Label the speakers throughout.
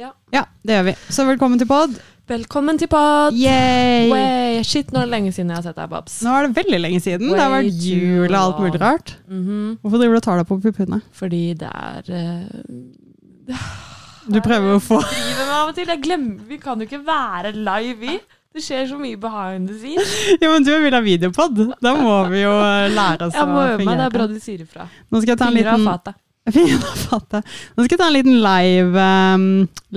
Speaker 1: Ja.
Speaker 2: Ja, det gjør vi. Så velkommen til pod.
Speaker 1: Velkommen til pod!
Speaker 2: Yay!
Speaker 1: Way. Shit, nå er det lenge siden jeg har sett deg, Babs.
Speaker 2: Nå er det veldig lenge siden. Det har
Speaker 1: Way
Speaker 2: vært jul og alt mulig
Speaker 1: too
Speaker 2: rart.
Speaker 1: Mhm.
Speaker 2: Hvorfor driver du og tar deg på puppene?
Speaker 1: Fordi det er eh,
Speaker 2: Du prøver å få
Speaker 1: Driver meg av og til. Jeg glemmer, vi kan jo ikke være live, vi. Det skjer så mye behind the scenes.
Speaker 2: Ja, men du vil ha videopod. Da må vi jo eh, lære oss
Speaker 1: Jeg må
Speaker 2: å
Speaker 1: øve meg, det er bra
Speaker 2: fungere.
Speaker 1: du sier ifra.
Speaker 2: Nå skal jeg ta en
Speaker 1: Fingre av
Speaker 2: liten
Speaker 1: fatet.
Speaker 2: Fingra av fatet. Nå skal jeg ta en liten live ehm,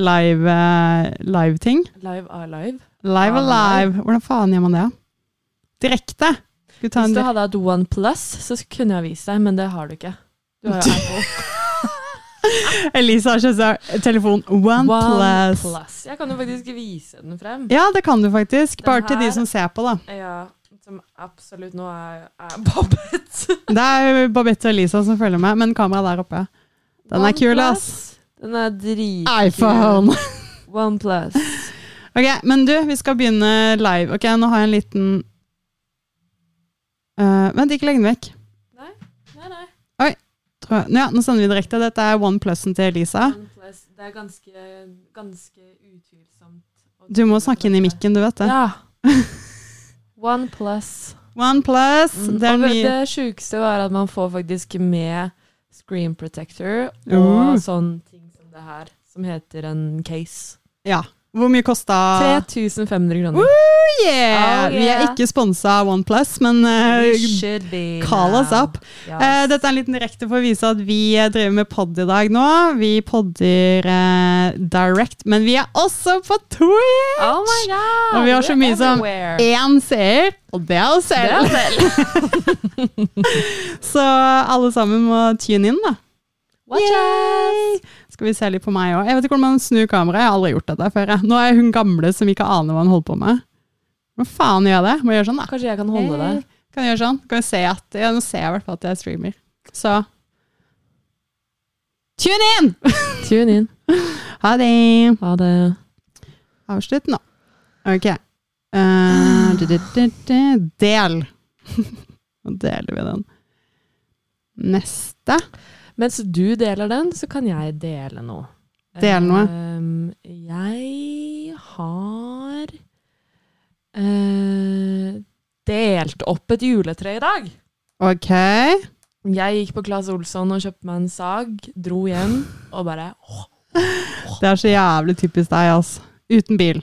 Speaker 2: live eh, live ting.
Speaker 1: Live are live.
Speaker 2: Live
Speaker 1: Ja,
Speaker 2: alive. Hvordan faen gjør man det? Direkte. Skal vi ta
Speaker 1: Hvis
Speaker 2: en
Speaker 1: du
Speaker 2: direkte?
Speaker 1: hadde hatt One Plus, så kunne jeg vist deg, men det har du ikke. Du har jo Apple.
Speaker 2: Elisa har kjøpt seg telefon OnePlus.
Speaker 1: Jeg kan jo faktisk vise den frem.
Speaker 2: Ja, det kan du faktisk.
Speaker 1: Den
Speaker 2: Bare til de
Speaker 1: her-
Speaker 2: som ser på, da.
Speaker 1: Ja, som absolutt nå er, er bobbet.
Speaker 2: Det er jo Babette og Elisa som følger med, men kameraet der oppe. Den er kul, ass.
Speaker 1: Den er dritkul.
Speaker 2: iPhone.
Speaker 1: One Plus.
Speaker 2: Ok, men du, vi skal begynne live. Ok, nå har jeg en liten Eh, Vent, ikke legg den vekk.
Speaker 1: Nei, nei.
Speaker 2: Tror jeg. Nå, ja, nå sender vi direkte. Dette er OnePlusen til Elisa.
Speaker 1: One Plus. Det er ganske, ganske utvilsomt.
Speaker 2: Du må snakke inn i mikken, du vet det.
Speaker 1: Ja. One Plus.
Speaker 2: OnePlus,
Speaker 1: Mm,
Speaker 2: det er
Speaker 1: og vet-
Speaker 2: mye
Speaker 1: det sjukeste var at man får faktisk med screen protector og
Speaker 2: Uh.
Speaker 1: sånn ting som det her, som heter en case.
Speaker 2: Ja. Hvor mye kosta
Speaker 1: 3500 kroner.
Speaker 2: Woo, yeah!
Speaker 1: Oh,
Speaker 2: Vi er
Speaker 1: yeah.
Speaker 2: ikke sponsa av OnePlus, men eh,
Speaker 1: We should be
Speaker 2: call us
Speaker 1: now.
Speaker 2: up.
Speaker 1: Yes.
Speaker 2: Eh, dette er en liten direkte for å vise at vi eh, driver med pod i dag nå. Vi podder eh, direct, men vi er også på Twitch!
Speaker 1: oh my god!
Speaker 2: Og vi har så
Speaker 1: we're
Speaker 2: mye som-
Speaker 1: everywhere.
Speaker 2: Én seer, og det er oss
Speaker 1: Det
Speaker 2: selv.
Speaker 1: er selv.
Speaker 2: Så alle sammen må tune inn, da.
Speaker 1: Watch
Speaker 2: Yay! Skal vi se litt på meg òg. Jeg vet ikke hvordan man snur kameraet. Jeg har aldri gjort dette før. Jeg. Nå er jeg hun gamle som ikke aner hva hun holder på med. Hva faen gjør jeg det? Må jeg gjøre sånn, da.
Speaker 1: us. Kanskje jeg kan holde
Speaker 2: Hey.
Speaker 1: deg.
Speaker 2: Kan jeg gjøre sånn? Kan jeg se at, ja, nå ser jeg i hvert fall at jeg streamer. Så Tune in!
Speaker 1: Tune in.
Speaker 2: Ha det!
Speaker 1: Ha det.
Speaker 2: Avslutt nå. Ok. Eh, du, du, du, du. Del. Nå deler vi den. Neste.
Speaker 1: Mens du deler den, så kan jeg dele noe.
Speaker 2: Del noe.
Speaker 1: Ehm, jeg har eh, delt opp et juletre i dag.
Speaker 2: Ok.
Speaker 1: Jeg gikk på Claes Olsson og kjøpte meg en sag, dro hjem og bare åh,
Speaker 2: Det er så jævlig typisk deg, altså. Uten bil.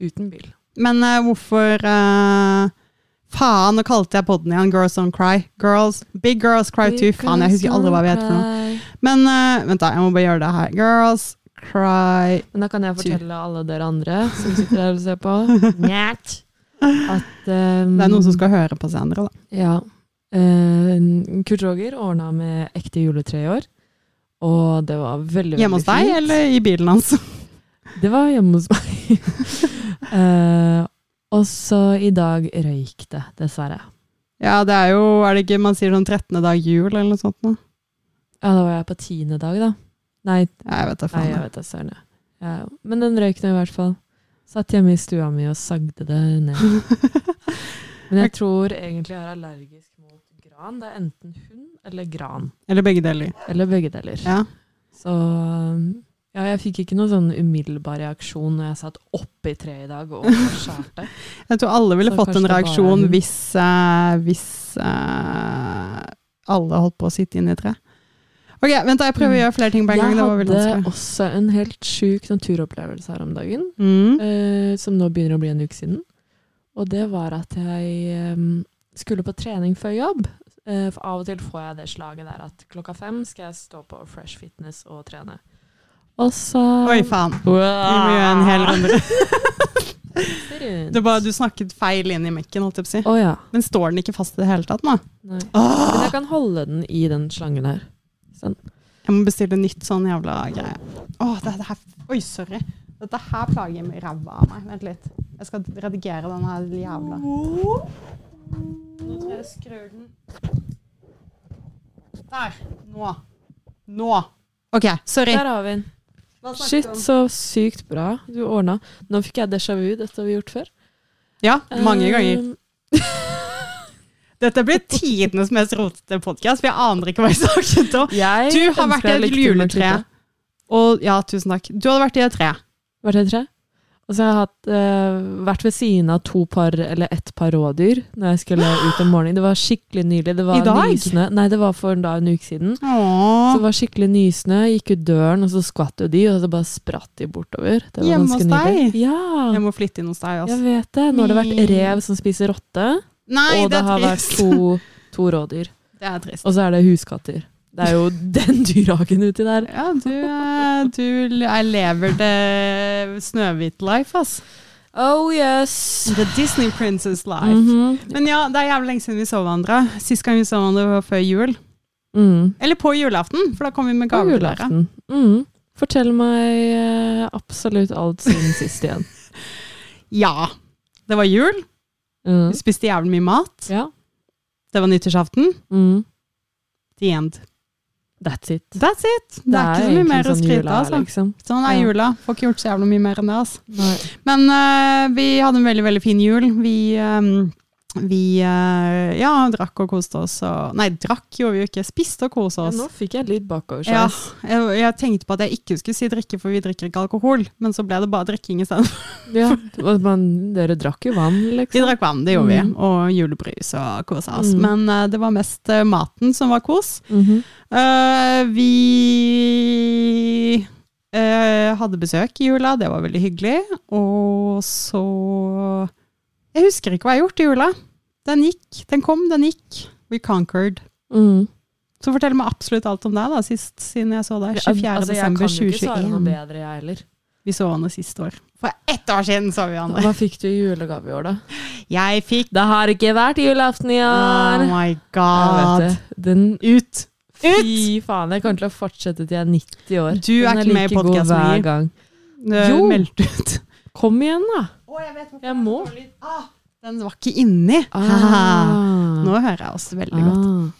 Speaker 1: uten bil.
Speaker 2: Men eh, hvorfor eh, Faen, nå kalte jeg podden igjen Girls Don't Cry. Girls, Big Girls Cry Too. Faen, jeg husker aldri hva vi heter for noe. Men eh, vent, da. Jeg må bare gjøre det her. Girls Cry
Speaker 1: Men da kan jeg
Speaker 2: Ty.
Speaker 1: fortelle alle dere andre som sitter her og ser på, Njet. at ehm,
Speaker 2: Det er noen som skal høre på senere, da.
Speaker 1: Ja. Eh, Kurt Roger ordna med ekte juletre i år. Og det var veldig, veldig
Speaker 2: Hjemme hos deg
Speaker 1: fint.
Speaker 2: eller i bilen hans?
Speaker 1: Det var hjemme hos meg. Eh, og så i dag røyk det, dessverre.
Speaker 2: Ja, det er jo, er det ikke man sier sånn 13. dag jul eller noe sånt nå?
Speaker 1: Ja, da var jeg på tiende dag, da. Nei,
Speaker 2: Ja, jeg vet da
Speaker 1: nei
Speaker 2: faen.
Speaker 1: jeg vet da søren. jeg. Ja, men den røyk nå i hvert fall. Satt hjemme i stua mi og sagde det ned. Men jeg tror egentlig jeg er allergisk mot gran. Det er enten hund eller gran.
Speaker 2: Eller begge deler.
Speaker 1: Eller begge deler.
Speaker 2: Ja.
Speaker 1: Så ja, jeg fikk ikke noen sånn umiddelbar reaksjon når jeg satt oppi treet i dag og skjærte.
Speaker 2: Jeg tror alle ville
Speaker 1: Så
Speaker 2: fått
Speaker 1: kanskje
Speaker 2: en
Speaker 1: det bare er
Speaker 2: reaksjon
Speaker 1: hun.
Speaker 2: hvis, eh, hvis eh, alle holdt på å sitte inne i tre. Ok, vent da, jeg prøver å gjøre flere ting på en
Speaker 1: Mm.
Speaker 2: gang.
Speaker 1: Jeg
Speaker 2: Det var veldig
Speaker 1: hadde
Speaker 2: vanskelig.
Speaker 1: også en helt sjuk naturopplevelse her om dagen,
Speaker 2: Mm.
Speaker 1: eh, som nå begynner å bli en uke siden. Og det var at jeg eh, skulle på trening før jobb. Eh, for av og til får jeg det slaget der at klokka fem skal jeg stå på Fresh Fitness og trene. Og så
Speaker 2: Oi, faen.
Speaker 1: Vi
Speaker 2: Vi må gjøre en hel runde.
Speaker 1: runde.
Speaker 2: Det var, du snakket feil inn i mekken, holdt jeg på å si.
Speaker 1: Å ja.
Speaker 2: Men står den ikke fast i det hele tatt nå?
Speaker 1: Nei. Men
Speaker 2: Åh!
Speaker 1: jeg kan holde den i den slangen her. Sånn.
Speaker 2: Jeg må bestille nytt sånn jævla greie. Åh, det, det her, oi, sorry. Dette her plager ræva av meg. Vent litt. Jeg skal redigere den her jævla. Nå tror jeg jeg skrur den. Der. Nå. Nå. Ok, sorry.
Speaker 1: Der har vi den.
Speaker 2: Hva snakket
Speaker 1: Shit,
Speaker 2: vi om?
Speaker 1: så sykt bra du ordna. Nå fikk jeg déjà vu, dette har vi gjort før.
Speaker 2: Ja, mange ganger.
Speaker 1: Um,
Speaker 2: Dette blir tidenes mest rotete podkast. Vi aner ikke hva vi snakket om.
Speaker 1: Jeg
Speaker 2: Du har vært
Speaker 1: ønsker jeg
Speaker 2: et
Speaker 1: likte den
Speaker 2: juletre.
Speaker 1: klippet.
Speaker 2: Og ja, tusen takk. Du hadde vært i et tre.
Speaker 1: Vært det tre? Og så har jeg hatt, eh, vært ved siden av to par, eller ett par rådyr når jeg skulle ut om morgenen. Det var skikkelig nydelig. Det var
Speaker 2: I dag?
Speaker 1: Nysnø. Nei, det var for en, dag, en uke siden. Så
Speaker 2: Åh,
Speaker 1: det var skikkelig nysnø. Gikk ut døren, og så skvatt jo de, og så bare spratt de bortover. Det var
Speaker 2: Hjemme
Speaker 1: ganske
Speaker 2: hos
Speaker 1: nydelig.
Speaker 2: deg? jeg
Speaker 1: Ja,
Speaker 2: må flytte inn hos deg
Speaker 1: jeg
Speaker 2: også.
Speaker 1: vet det. Nå har det vært rev som spiser rotte,
Speaker 2: Nei,
Speaker 1: og
Speaker 2: det
Speaker 1: det
Speaker 2: er
Speaker 1: har vært
Speaker 2: trist.
Speaker 1: to, to rådyr.
Speaker 2: Det er trist.
Speaker 1: Og så er det huskatter. Det er jo den dyrehagen uti der.
Speaker 2: Ja, du, eh, du jeg lever det Snøhvit-life, ass.
Speaker 1: Oh yes!
Speaker 2: The Disney Princess life.
Speaker 1: Mhm.
Speaker 2: Men ja, det er jævlig lenge siden vi så hverandre. Sist gang vi så hverandre var før jul.
Speaker 1: mm.
Speaker 2: Eller på julaften, for da kom vi med
Speaker 1: På
Speaker 2: gaver til dere.
Speaker 1: julaften. Mm. Fortell meg eh, absolutt alt siden sist igjen.
Speaker 2: Ja. Det var jul.
Speaker 1: Mm.
Speaker 2: Vi spiste jævlig mye mat.
Speaker 1: Ja.
Speaker 2: Det var nyttårsaften.
Speaker 1: Mm.
Speaker 2: The end.
Speaker 1: That's it.
Speaker 2: That's it. Det er, ikke så mye
Speaker 1: egentlig
Speaker 2: mer å
Speaker 1: sånn
Speaker 2: skryte
Speaker 1: jula
Speaker 2: av.
Speaker 1: er,
Speaker 2: Altså.
Speaker 1: Liksom.
Speaker 2: Sånn er
Speaker 1: Ja.
Speaker 2: jula. Får ikke gjort så jævlig mye mer enn det. Altså.
Speaker 1: Nei.
Speaker 2: Men eh, vi hadde en veldig, veldig fin jul. Vi, eh, vi eh, ja, drakk og koste oss. Og, nei, drakk gjorde vi jo ikke. Spiste og koste
Speaker 1: Ja,
Speaker 2: oss.
Speaker 1: nå fikk jeg litt bakoversveis.
Speaker 2: Ja, jeg, jeg tenkte på at jeg ikke skulle si drikke, for vi drikker ikke alkohol. Men så ble det bare drikking isteden.
Speaker 1: Ja, og man, dere drakk jo vann,
Speaker 2: Vi
Speaker 1: liksom.
Speaker 2: drakk vann, det gjorde
Speaker 1: Mm.
Speaker 2: vi. Og julebrus og kosa oss.
Speaker 1: Mm.
Speaker 2: Men eh, det var mest eh, maten som var kos.
Speaker 1: Mhm.
Speaker 2: Eh, vi eh, hadde besøk i jula, det var veldig hyggelig. Og så Jeg husker ikke hva jeg har gjort i jula. Den gikk, den kom, den gikk. We conquered.
Speaker 1: mm.
Speaker 2: Så fortell meg absolutt alt om deg, da, sist siden jeg så deg. 24.
Speaker 1: Altså,
Speaker 2: desember
Speaker 1: Jeg kan jo ikke svare noe
Speaker 2: 2021.
Speaker 1: bedre, jeg heller.
Speaker 2: Vi så hverandre sist år. For ett år siden så vi hverandre!
Speaker 1: Hva fikk du i julegave i år, da?
Speaker 2: Jeg fikk
Speaker 1: Det har ikke vært julaften i
Speaker 2: Oh
Speaker 1: år!
Speaker 2: my
Speaker 1: Jeg
Speaker 2: god!
Speaker 1: vet det. Den
Speaker 2: Ut! Ut!
Speaker 1: Fy faen, jeg kommer til å fortsette til jeg er 90 år.
Speaker 2: Du er
Speaker 1: Den
Speaker 2: ikke med i
Speaker 1: like god
Speaker 2: podcasten
Speaker 1: hver
Speaker 2: lenger.
Speaker 1: gang.
Speaker 2: Jo!
Speaker 1: Jo.
Speaker 2: Eh, Meldt ut.
Speaker 1: Kom igjen, da.
Speaker 2: Å, jeg vet hvorfor
Speaker 1: Jeg Ah. må.
Speaker 2: det er så lyd. Ah, den var ikke inni. Haha.
Speaker 1: Ah.
Speaker 2: Nå hører jeg oss veldig godt.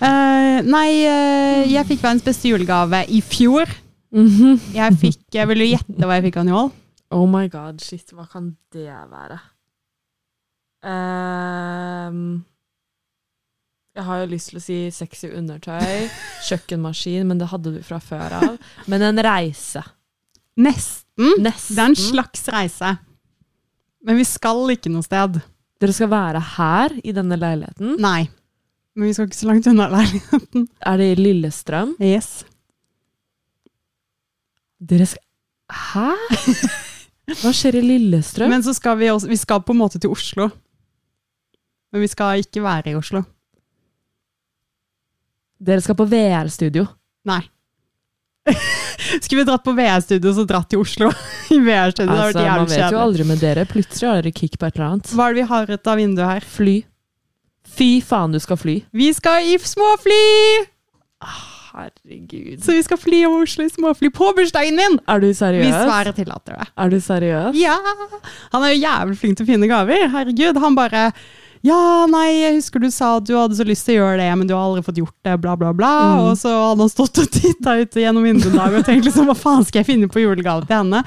Speaker 2: Eh, nei, eh, jeg fikk verdens beste julegave i fjor.
Speaker 1: Mhm.
Speaker 2: Jeg fikk, jeg ville gjette hva jeg fikk av Njål.
Speaker 1: Oh my god, shit, hva kan det være? Ehm, jeg har jo lyst til å si sexy undertøy, kjøkkenmaskin, men det hadde du fra før av. Men en reise.
Speaker 2: Nesten. Det er en
Speaker 1: Nesten.
Speaker 2: slags reise. Men vi skal ikke noe sted.
Speaker 1: Dere skal være her, i denne leiligheten.
Speaker 2: Nei. Men vi skal ikke så langt unna leiligheten.
Speaker 1: Er det i Lillestrøm?
Speaker 2: Yes.
Speaker 1: Dere skal Hæ? Hva skjer i Lillestrøm?
Speaker 2: Men så skal vi også, vi skal på en måte til Oslo. Men vi skal ikke være i Oslo.
Speaker 1: Dere skal på VR-studio.
Speaker 2: Nei. Skulle vi dratt på VR-studio, så dratt til Oslo. I VR-studio, det har
Speaker 1: Altså, man
Speaker 2: vært jævlig
Speaker 1: vet jo
Speaker 2: kjedelig.
Speaker 1: aldri med dere. Plutselig har dere kick på et eller annet.
Speaker 2: Hva er det vi har ut av vinduet her?
Speaker 1: Fly. Fy faen, du skal fly.
Speaker 2: Vi skal i småfly!
Speaker 1: Ah, Herregud.
Speaker 2: Så vi skal fly over Oslo i småfly på bursdagen min!
Speaker 1: Er du
Speaker 2: Hvis
Speaker 1: seriøs?
Speaker 2: været tillater det.
Speaker 1: Er du seriøs?
Speaker 2: Ja! Han er jo jævlig flink til å finne gaver. Herregud. Han bare ja, nei, jeg husker du sa at du hadde så lyst til å gjøre det, men du har aldri fått gjort det, bla, bla, bla.
Speaker 1: Mm.
Speaker 2: Og så hadde han stått og titta ut gjennom vinduet en dag og tenkt liksom, hva faen skal jeg finne på julegave til henne?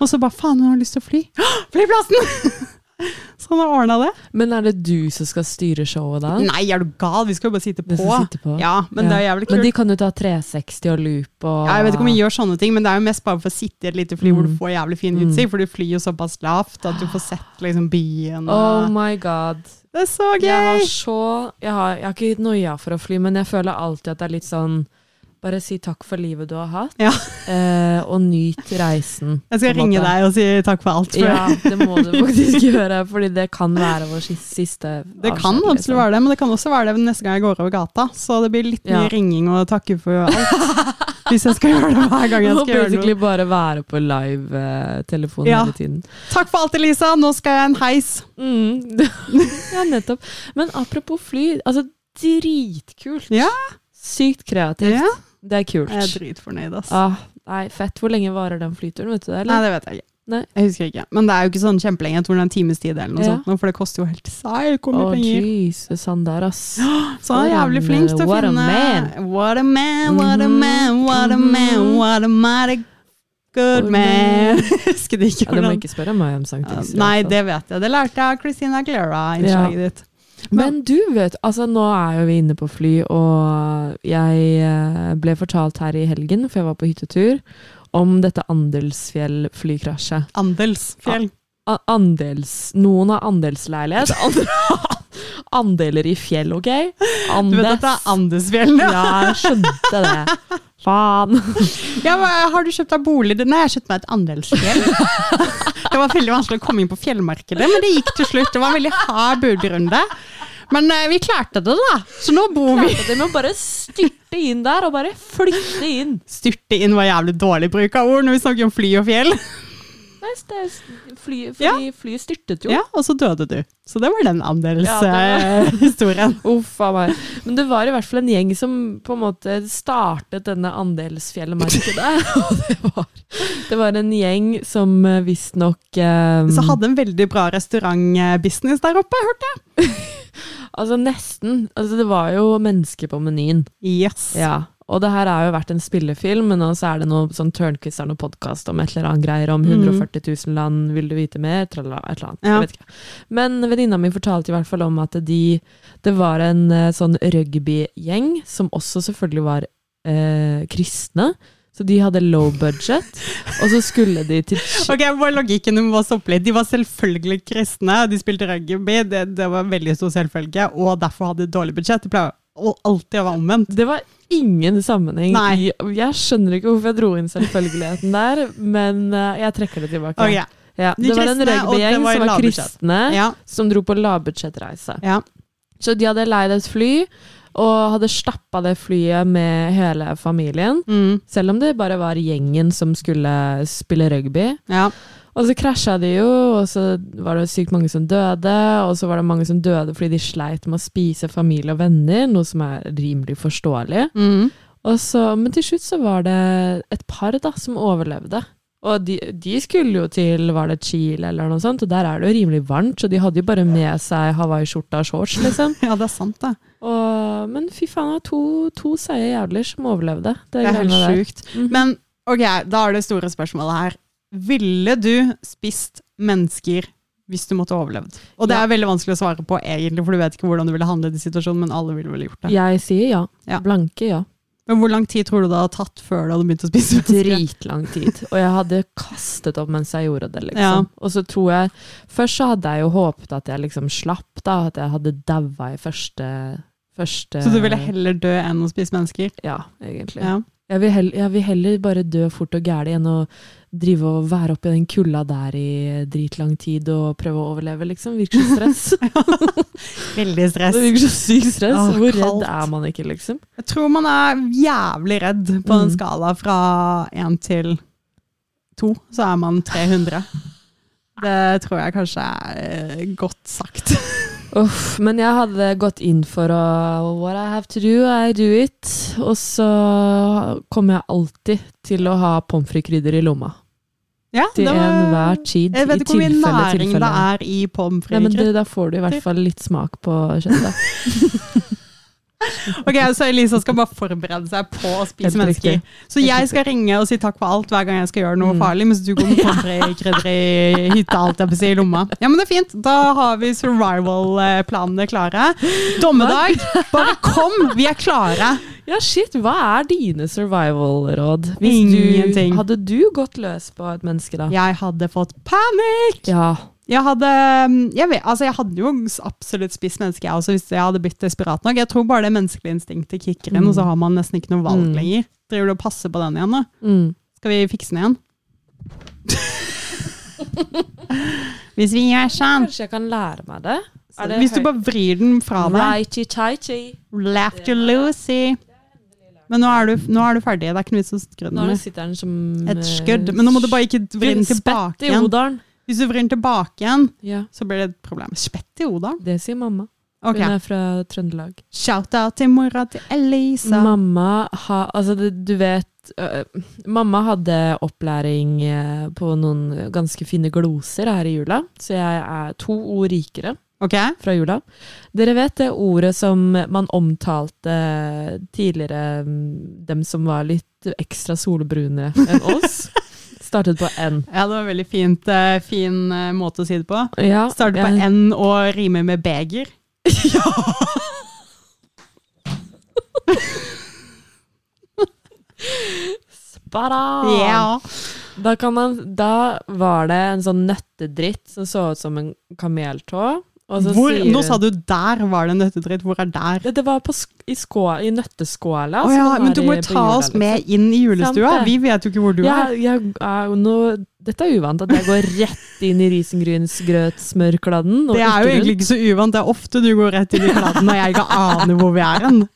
Speaker 2: Og så bare, faen, hun har lyst til å fly. Hå, Flyplassen! så han har ordna det.
Speaker 1: Men er det du som skal styre showet da?
Speaker 2: Nei, er du gal? Vi skal jo bare sitte
Speaker 1: Det
Speaker 2: på.
Speaker 1: som sitter på?
Speaker 2: Ja, men det er jævlig kult.
Speaker 1: Men de kan jo ta 360 og loop og
Speaker 2: Ja, jeg vet ikke om vi gjør sånne ting, men det er jo mest bare for å sitte i et lite fly hvor
Speaker 1: Ah.
Speaker 2: du
Speaker 1: Mm.
Speaker 2: får jævlig fin
Speaker 1: Mm.
Speaker 2: utsikt, for du flyr jo såpass lavt at du får sett liksom byen.
Speaker 1: Oh
Speaker 2: Og...
Speaker 1: my god.
Speaker 2: Det er så
Speaker 1: Jeg har
Speaker 2: gøy!
Speaker 1: så Jeg har, jeg har ikke gitt noia for å fly, men jeg føler alltid at det er litt sånn Bare si takk for livet du har hatt,
Speaker 2: Ja.
Speaker 1: eh, og nyt reisen.
Speaker 2: Jeg skal
Speaker 1: på en
Speaker 2: ringe
Speaker 1: måte.
Speaker 2: deg og si takk for alt. For
Speaker 1: Ja, det må du faktisk gjøre, fordi det kan være vår sis- siste
Speaker 2: Det kan
Speaker 1: liksom.
Speaker 2: absolutt være det, men det kan også være det neste gang jeg går over gata. Så det blir litt mye
Speaker 1: Ja.
Speaker 2: ringing og takke for alt. Hvis jeg skal gjøre det hver gang jeg
Speaker 1: må
Speaker 2: skal gjøre
Speaker 1: basically
Speaker 2: noe.
Speaker 1: bare være på live-telefonen
Speaker 2: Ja.
Speaker 1: hele tiden.
Speaker 2: Takk for alt, Elisa! Nå skal jeg en heis.
Speaker 1: Mm. ja, nettopp. Men apropos fly, altså dritkult.
Speaker 2: Ja.
Speaker 1: Sykt kreativt.
Speaker 2: Ja,
Speaker 1: Det er
Speaker 2: jeg er
Speaker 1: kult.
Speaker 2: dritfornøyd, ass.
Speaker 1: Ah, nei, fett. Hvor lenge varer den flyturen, vet du det?
Speaker 2: Nei,
Speaker 1: Eller?
Speaker 2: det vet jeg ikke.
Speaker 1: Nei.
Speaker 2: Jeg husker ikke. Men det er jo ikke sånn kjempelenge. Jeg tror det er en times tid eller noe
Speaker 1: Ja.
Speaker 2: sånt, nå, for det koster jo helt psyko mye
Speaker 1: Å,
Speaker 2: penger.
Speaker 1: Jesus, han der, ass.
Speaker 2: Så han er
Speaker 1: For
Speaker 2: jævlig
Speaker 1: en,
Speaker 2: flink til å
Speaker 1: what a
Speaker 2: finne
Speaker 1: man.
Speaker 2: What a man, what a
Speaker 1: Mhm.
Speaker 2: man, what a man,
Speaker 1: Mhm.
Speaker 2: what a mighty good
Speaker 1: Good man.
Speaker 2: man. Husker de ikke
Speaker 1: Ja, det må
Speaker 2: hvordan
Speaker 1: ikke altså. spørre meg om Sankt
Speaker 2: Ja,
Speaker 1: Ekstrem.
Speaker 2: Nei, det vet jeg. Det lærte jeg av Christina Aguilera-innslaget ditt.
Speaker 1: Men du vet, altså nå er jo vi inne på fly, og jeg eh, ble fortalt her i helgen, for jeg var på hyttetur, om dette Andelsfjell-flykrasjet.
Speaker 2: Andelsfjell.
Speaker 1: A- Andels... Noen har andelsleilighet, andre har andeler i fjell, OK?
Speaker 2: Du
Speaker 1: Andes.
Speaker 2: vet at det er Andesfjellene?
Speaker 1: Ja, jeg skjønte det. Faen.
Speaker 2: Ja, hva- har du kjøpt deg bolig? Nei, jeg har kjøpt meg et andelsfjell. det var veldig vanskelig å komme inn på fjellmarkedet, men det gikk til slutt. Det var en veldig hard budrunde. Men eh, vi klarte det, da. Så nå bor vi
Speaker 1: De må bare styrte inn der og bare flytte inn.
Speaker 2: Styrte inn var jævlig dårlig bruk av ord når vi snakker om fly og fjell.
Speaker 1: Nei, s- det er s- fly, fly,
Speaker 2: Ja.
Speaker 1: flyet styrtet jo.
Speaker 2: Ja, Og så døde du. Så det var den
Speaker 1: Ja, det var-
Speaker 2: andelshistorien.
Speaker 1: Uff a meg. Men det var i hvert fall en gjeng som på en måte startet denne andelsfjellmarkedet. Og det var, det var en gjeng som eh, visstnok eh,
Speaker 2: så hadde en veldig bra restaurantbusiness der oppe, hørte jeg.
Speaker 1: Altså nesten. Altså, det var jo mennesker på menyen.
Speaker 2: Yes.
Speaker 1: Ja. Og det her har jo vært en spillefilm, men også er det noe sånn Tørnquist-er noe podkast om et eller annet greier om 140 000 land, vil du vite mer? Tralala, et eller annet.
Speaker 2: Mm. Ja.
Speaker 1: Jeg vet ikke. Men venninna mi fortalte i hvert fall om at de Det var en eh, sånn rugbygjeng som også selvfølgelig var eh, kristne. Så de hadde low budget, og så skulle de til Chi-
Speaker 2: Ok, hva er logikken om å stoppe litt? De var selvfølgelig kristne, de spilte rugby, det, det var veldig stor selvfølge, og derfor hadde de dårlig budsjett. Det pleier å alltid å være omvendt.
Speaker 1: Det var ingen sammenheng.
Speaker 2: Nei.
Speaker 1: i- Jeg skjønner ikke hvorfor jeg dro inn selvfølgeligheten der, men eh, jeg trekker det tilbake.
Speaker 2: Ok,
Speaker 1: Ja,
Speaker 2: De
Speaker 1: det var en
Speaker 2: kristne, og det
Speaker 1: rugbygjeng
Speaker 2: var
Speaker 1: som var
Speaker 2: lavbudsjett.
Speaker 1: kristne,
Speaker 2: ja,
Speaker 1: som dro på lavbudsjettreise.
Speaker 2: ja.
Speaker 1: Så de hadde leid et fly, og hadde stappa det flyet med hele familien.
Speaker 2: Mm,
Speaker 1: Selv om det bare var gjengen som skulle spille rugby.
Speaker 2: ja.
Speaker 1: Og så krasja de jo, og så var det sykt mange som døde. Og så var det mange som døde fordi de sleit med å spise familie og venner, noe som er rimelig forståelig.
Speaker 2: Mm.
Speaker 1: Og så, men til slutt så var det et par da, som overlevde. Og de, de skulle jo til var det Chile eller noe sånt, og der er det jo rimelig varmt, så de hadde jo bare med seg hawaiiskjorta og shorts, liksom.
Speaker 2: ja, det er sant det.
Speaker 1: Og, men fy faen, det var to, to seige jævler som overlevde. Det,
Speaker 2: Det er helt
Speaker 1: greiene der. Mhm.
Speaker 2: sjukt. Men ok, da er det store spørsmålet her. Ville du spist mennesker hvis du måtte overlevd? Og det
Speaker 1: Ja.
Speaker 2: er veldig vanskelig å svare på egentlig, for du vet ikke hvordan du ville handlet i situasjonen, men alle ville vel gjort det.
Speaker 1: Jeg sier ja.
Speaker 2: Ja.
Speaker 1: Blanke ja.
Speaker 2: Men hvor lang tid tror du det hadde tatt før du hadde begynt å spise mennesker?
Speaker 1: Dritlang tid. Og jeg hadde kastet opp mens jeg gjorde det,
Speaker 2: Ja.
Speaker 1: liksom. Og så tror jeg Først så hadde jeg jo håpet at jeg liksom slapp, da. At jeg hadde daua i første, første
Speaker 2: Så du ville heller dø enn å spise mennesker?
Speaker 1: Ja, egentlig.
Speaker 2: Ja.
Speaker 1: Jeg, vil heller, jeg vil heller bare dø fort og gæli enn å drive og være oppi den kulda der i dritlang tid og prøve å overleve, liksom. Virker så stress.
Speaker 2: Veldig stress.
Speaker 1: det virker så sykt stress.
Speaker 2: Åh,
Speaker 1: Hvor
Speaker 2: kaldt.
Speaker 1: redd er man ikke, liksom?
Speaker 2: Jeg tror man er jævlig redd på en
Speaker 1: Mm.
Speaker 2: skala fra én til to, så er man 300. Det tror jeg kanskje er eh, godt sagt.
Speaker 1: Uff, men jeg hadde gått inn for å What I have to do, I do it. Og så kommer jeg alltid til å ha pommes frites-krydder i lomma.
Speaker 2: Ja,
Speaker 1: Til
Speaker 2: det var-
Speaker 1: enhver tid.
Speaker 2: Jeg vet ikke hvor mye næring det er i pommes
Speaker 1: Nei, men
Speaker 2: frites.
Speaker 1: det, da får du i hvert fall litt smak på kjøttet.
Speaker 2: Ok, så Elisa skal bare forberede seg på å spise
Speaker 1: Helt
Speaker 2: mennesker.
Speaker 1: riktig.
Speaker 2: Så jeg skal ringe og si takk for alt hver gang jeg skal gjøre noe
Speaker 1: Mm.
Speaker 2: farlig, mens du går med pommes frites, krydder i hytta, alt jeg på å si, i lomma. Ja, men det er fint. Da har vi survival-planene klare. Dommedag, bare kom! Vi er klare.
Speaker 1: Ja, shit, hva er dine survival-råd? Hvis
Speaker 2: Ingenting.
Speaker 1: Du, hadde du gått løs på et menneske da?
Speaker 2: Jeg hadde fått panikk!
Speaker 1: Ja.
Speaker 2: Jeg hadde, jeg, vet, altså jeg hadde jo absolutt spist menneske, jeg også, hvis jeg hadde blitt desperat nok. Jeg tror bare det menneskelige instinktet kicker inn,
Speaker 1: Mm.
Speaker 2: og så har man nesten ikke noe
Speaker 1: Mm.
Speaker 2: valg lenger. Driver du og passer på den igjen, da?
Speaker 1: Mm.
Speaker 2: Skal vi fikse den igjen? Hvis vi gjør sånn
Speaker 1: Kanskje jeg kan lære meg det? Er det
Speaker 2: Hvis du
Speaker 1: høy-
Speaker 2: bare vrir den fra deg.
Speaker 1: Righty-tighty.
Speaker 2: Left to Lucy. Men nå er du, nå er du ferdig. Det er ikke noe vits å skru den
Speaker 1: Nå er det
Speaker 2: ned.
Speaker 1: sitter den som
Speaker 2: Et skudd. Men nå må du bare ikke vri den tilbake
Speaker 1: Spett i
Speaker 2: igjen.
Speaker 1: odalen.
Speaker 2: Hvis du vrir den tilbake igjen,
Speaker 1: Ja,
Speaker 2: så blir det et problem. Spett i odalen?
Speaker 1: det sier mamma.
Speaker 2: Ok.
Speaker 1: Hun er fra Trøndelag.
Speaker 2: Shout-out til mora til Elisa.
Speaker 1: Mamma har Altså, det, du vet øh, Mamma hadde opplæring øh, på noen ganske fine gloser her i jula, så jeg er to ord rikere.
Speaker 2: Ok?
Speaker 1: fra jula. Dere vet det ordet som man omtalte tidligere, mm, dem som var litt ekstra solbrune enn oss? Startet på N.
Speaker 2: Ja, det var veldig fint, eh, fin eh, måte å si det på.
Speaker 1: Ja,
Speaker 2: Starte på
Speaker 1: jeg-
Speaker 2: N og rime med beger.
Speaker 1: Baran!
Speaker 2: Ja.
Speaker 1: Da, kan man, da var det en sånn nøttedritt som så ut som en kameltå. Og så
Speaker 2: Hvor,
Speaker 1: sier
Speaker 2: nå
Speaker 1: hun-
Speaker 2: sa du der var det nøttedritt. Hvor er der?
Speaker 1: det, det var på, sk- i, skå, i nøtteskåla.
Speaker 2: Å
Speaker 1: som
Speaker 2: ja,
Speaker 1: man
Speaker 2: men
Speaker 1: har
Speaker 2: du
Speaker 1: i-
Speaker 2: må
Speaker 1: sånn på
Speaker 2: jo ta
Speaker 1: jula,
Speaker 2: oss
Speaker 1: liksom.
Speaker 2: med inn i julestua.
Speaker 1: Sant det.
Speaker 2: Vi vet jo ikke hvor du
Speaker 1: Ja,
Speaker 2: er.
Speaker 1: jeg er jo nå, dette er uvant, at jeg går rett inn i risengrynsgrøtsmørkladden.
Speaker 2: Det er jo egentlig ikke så uvant. Det er ofte du går rett inn i kladden, og jeg ikke aner hvor vi er hen.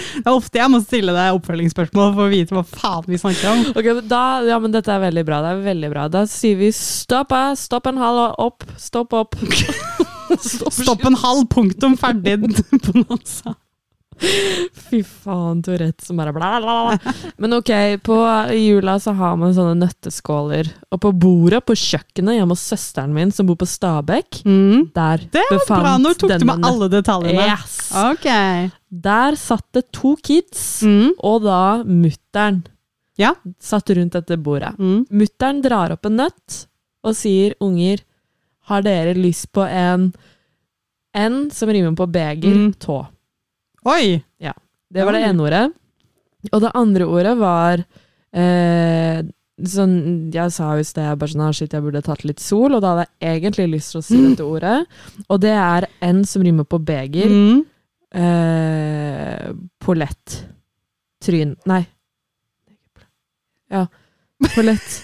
Speaker 2: Det er ofte jeg må stille deg oppfølgingsspørsmål for å vite hva faen vi snakker om.
Speaker 1: Ok, men da, ja, men dette er veldig bra. Det er veldig bra. Da sier vi stopp, eh, stopp en halv og opp, stopp opp. stopp. ah.
Speaker 2: Stopp en halv, punktum, ferdig. Bonanza.
Speaker 1: Fy faen, Tourette som bare bla, bla, bla. Men ok, på jula så har man sånne nøtteskåler. Og på bordet på kjøkkenet hjemme hos søsteren min som bor på Stabekk,
Speaker 2: Mm.
Speaker 1: der
Speaker 2: Det var
Speaker 1: befant
Speaker 2: bra. Nå tok du med alle detaljene.
Speaker 1: Yes.
Speaker 2: Ok.
Speaker 1: Der satt det to kids,
Speaker 2: Mm.
Speaker 1: og da mutteren
Speaker 2: Ja.
Speaker 1: satt rundt dette bordet.
Speaker 2: Mm.
Speaker 1: Mutteren drar opp en nøtt og sier, unger, har dere lyst på en N som rimer på beger,
Speaker 2: Mm.
Speaker 1: tå?
Speaker 2: Oi!
Speaker 1: Det var det ene ordet. Og det andre ordet var eh, sånn, Jeg sa jo i sted bare sånn, ah, shit, jeg burde tatt litt sol, og da hadde jeg egentlig lyst til å si
Speaker 2: Mm.
Speaker 1: dette ordet. Og det er N som rimer på beger.
Speaker 2: Mm.
Speaker 1: Eh, polett. Tryn Nei. Ja. Polett.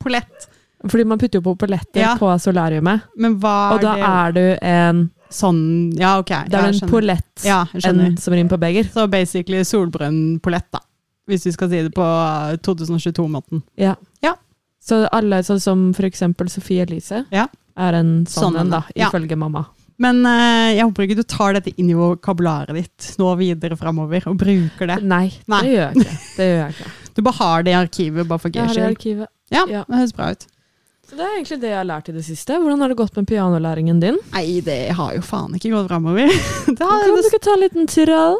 Speaker 2: Polett.
Speaker 1: Fordi man putter jo på polletter
Speaker 2: Ja.
Speaker 1: på solariumet,
Speaker 2: Men hva
Speaker 1: og
Speaker 2: er
Speaker 1: da
Speaker 2: det?
Speaker 1: er du en
Speaker 2: Sånn Ja, ok.
Speaker 1: Det er
Speaker 2: jeg
Speaker 1: en
Speaker 2: skjønner.
Speaker 1: polett
Speaker 2: Ja, jeg skjønner.
Speaker 1: N som rimer på beger.
Speaker 2: Så basically solbrønn-polett, da. Hvis vi skal si det på eh, 2022-måten.
Speaker 1: Så alle, sånn som for eksempel Sofie Elise,
Speaker 2: Ja.
Speaker 1: er en sånn
Speaker 2: Sånn en,
Speaker 1: en, da,
Speaker 2: ja.
Speaker 1: ifølge mamma.
Speaker 2: Men eh, jeg håper ikke du tar dette inn i vokabularet ditt nå videre framover og bruker det.
Speaker 1: Nei,
Speaker 2: Nei.
Speaker 1: det gjør jeg ikke. Det gjør jeg ikke.
Speaker 2: Du bare har det i arkivet, bare for
Speaker 1: Jeg
Speaker 2: gøy
Speaker 1: har det i
Speaker 2: skyld.
Speaker 1: arkivet.
Speaker 2: Ja,
Speaker 1: Ja.
Speaker 2: det høres bra ut.
Speaker 1: Så det er egentlig det jeg har lært i det siste. Hvordan har det gått med pianolæringen din?
Speaker 2: Nei, det har jo faen ikke gått framover. Det har-
Speaker 1: Kan du
Speaker 2: det-
Speaker 1: ikke ta en liten trall?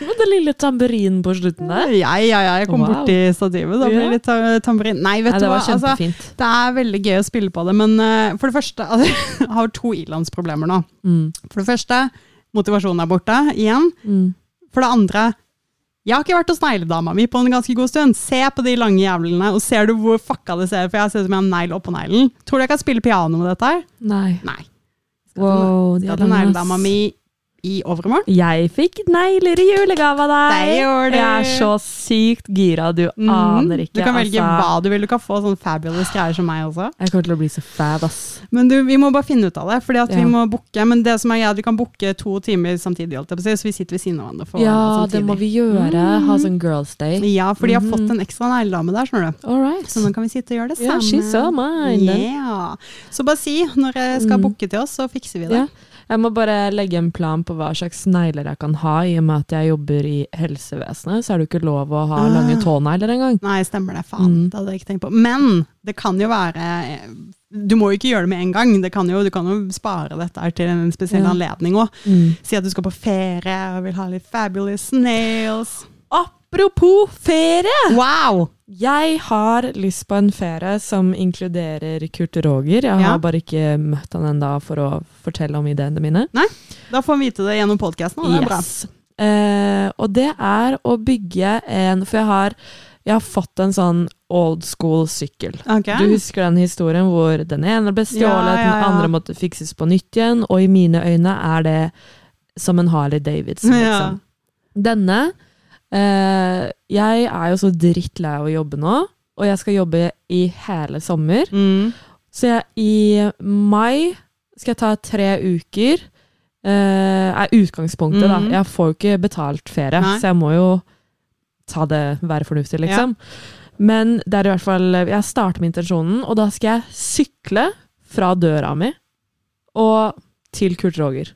Speaker 1: Med den lille tamburinen på slutten der.
Speaker 2: Ja, ja, ja, jeg kom
Speaker 1: Wow.
Speaker 2: borti stativet. Da blir
Speaker 1: Ja.
Speaker 2: det litt ta- tamburin. Nei, vet
Speaker 1: Nei,
Speaker 2: du
Speaker 1: det
Speaker 2: hva.
Speaker 1: var
Speaker 2: Altså,
Speaker 1: kjempefint.
Speaker 2: det er veldig gøy å spille på det, men eh, for det første altså, Jeg har to ilandsproblemer nå.
Speaker 1: Mm.
Speaker 2: For det første, motivasjonen er borte igjen.
Speaker 1: Mm.
Speaker 2: For det andre, jeg har ikke vært hos negledama mi på en ganske god stund. Se på de lange jævlene, og ser du hvor fucka det ser ut? For jeg ser ut som jeg har negl oppå neglen. Tror du jeg kan spille piano med dette her?
Speaker 1: Nei.
Speaker 2: Nei.
Speaker 1: Wow, de
Speaker 2: Jeg
Speaker 1: er
Speaker 2: hadde
Speaker 1: lange, ass.
Speaker 2: negledama mi i overmorgen.
Speaker 1: Jeg fikk negler i julegave av deg!
Speaker 2: Det gjorde du.
Speaker 1: Jeg er så sykt gira, du
Speaker 2: Mhm.
Speaker 1: aner ikke.
Speaker 2: Du kan velge
Speaker 1: altså.
Speaker 2: hva du vil. Du kan få sånne fabulous greier som meg også.
Speaker 1: Jeg kommer til å bli så fab, ass.
Speaker 2: Men du, vi må bare finne ut av det, fordi at vi
Speaker 1: Ja.
Speaker 2: må booke. Men det som er greia, er at vi kan booke to timer samtidig, holdt jeg på å si, så vi sitter ved siden av hverandre. for
Speaker 1: Ja,
Speaker 2: samtidig.
Speaker 1: det må vi gjøre. Ha sånn girls day.
Speaker 2: Ja, for de har
Speaker 1: Mhm.
Speaker 2: fått en ekstra negledame der, skjønner du.
Speaker 1: All right.
Speaker 2: Så nå kan vi sitte og gjøre det
Speaker 1: Ja,
Speaker 2: sammen.
Speaker 1: she's so mine, den.
Speaker 2: Yeah. Så bare si når jeg skal
Speaker 1: Mm.
Speaker 2: booke til oss, så fikser vi det.
Speaker 1: Ja. Jeg må bare legge en plan på hva slags negler jeg kan ha, i og med at jeg jobber i helsevesenet, så er det jo ikke lov å ha
Speaker 2: Ah.
Speaker 1: lange tånegler engang.
Speaker 2: Nei, stemmer det.
Speaker 1: Mm.
Speaker 2: Faen, det hadde jeg ikke tenkt på. Men det kan jo være eh, Du må jo ikke gjøre det med en gang. Det kan jo, du kan jo spare dette her til en spesiell
Speaker 1: Ja.
Speaker 2: anledning òg.
Speaker 1: Mm.
Speaker 2: Si at du skal på ferie og vil ha litt fabulous nails.
Speaker 1: Apropos ferie!
Speaker 2: Wow!
Speaker 1: Jeg har lyst på en ferie som inkluderer Kurt Roger. Jeg har
Speaker 2: Ja.
Speaker 1: bare ikke møtt han ennå for å fortelle om ideene mine.
Speaker 2: Da får han vite det gjennom podkasten, og det er bra.
Speaker 1: Yes. Eh, og det er å bygge en For jeg har, jeg har fått en sånn old school sykkel.
Speaker 2: Ok.
Speaker 1: Du husker den historien hvor den ene ble stjålet,
Speaker 2: Ja, ja, ja.
Speaker 1: den andre måtte fikses på nytt igjen, og i mine øyne er det som en Harley Davidson,
Speaker 2: Ja.
Speaker 1: liksom. Denne eh, Jeg er jo så drittlei av å jobbe nå, og jeg skal jobbe i hele sommer.
Speaker 2: Mm.
Speaker 1: Så jeg, i mai skal jeg ta tre uker. eh, er utgangspunktet, da.
Speaker 2: Mhm.
Speaker 1: Jeg får jo ikke betalt ferie,
Speaker 2: Nei.
Speaker 1: så jeg må jo ta det, være fornuftig, liksom. Men det er i hvert fall Jeg starter med intensjonen, og da skal jeg sykle fra døra mi og til Kurt Roger.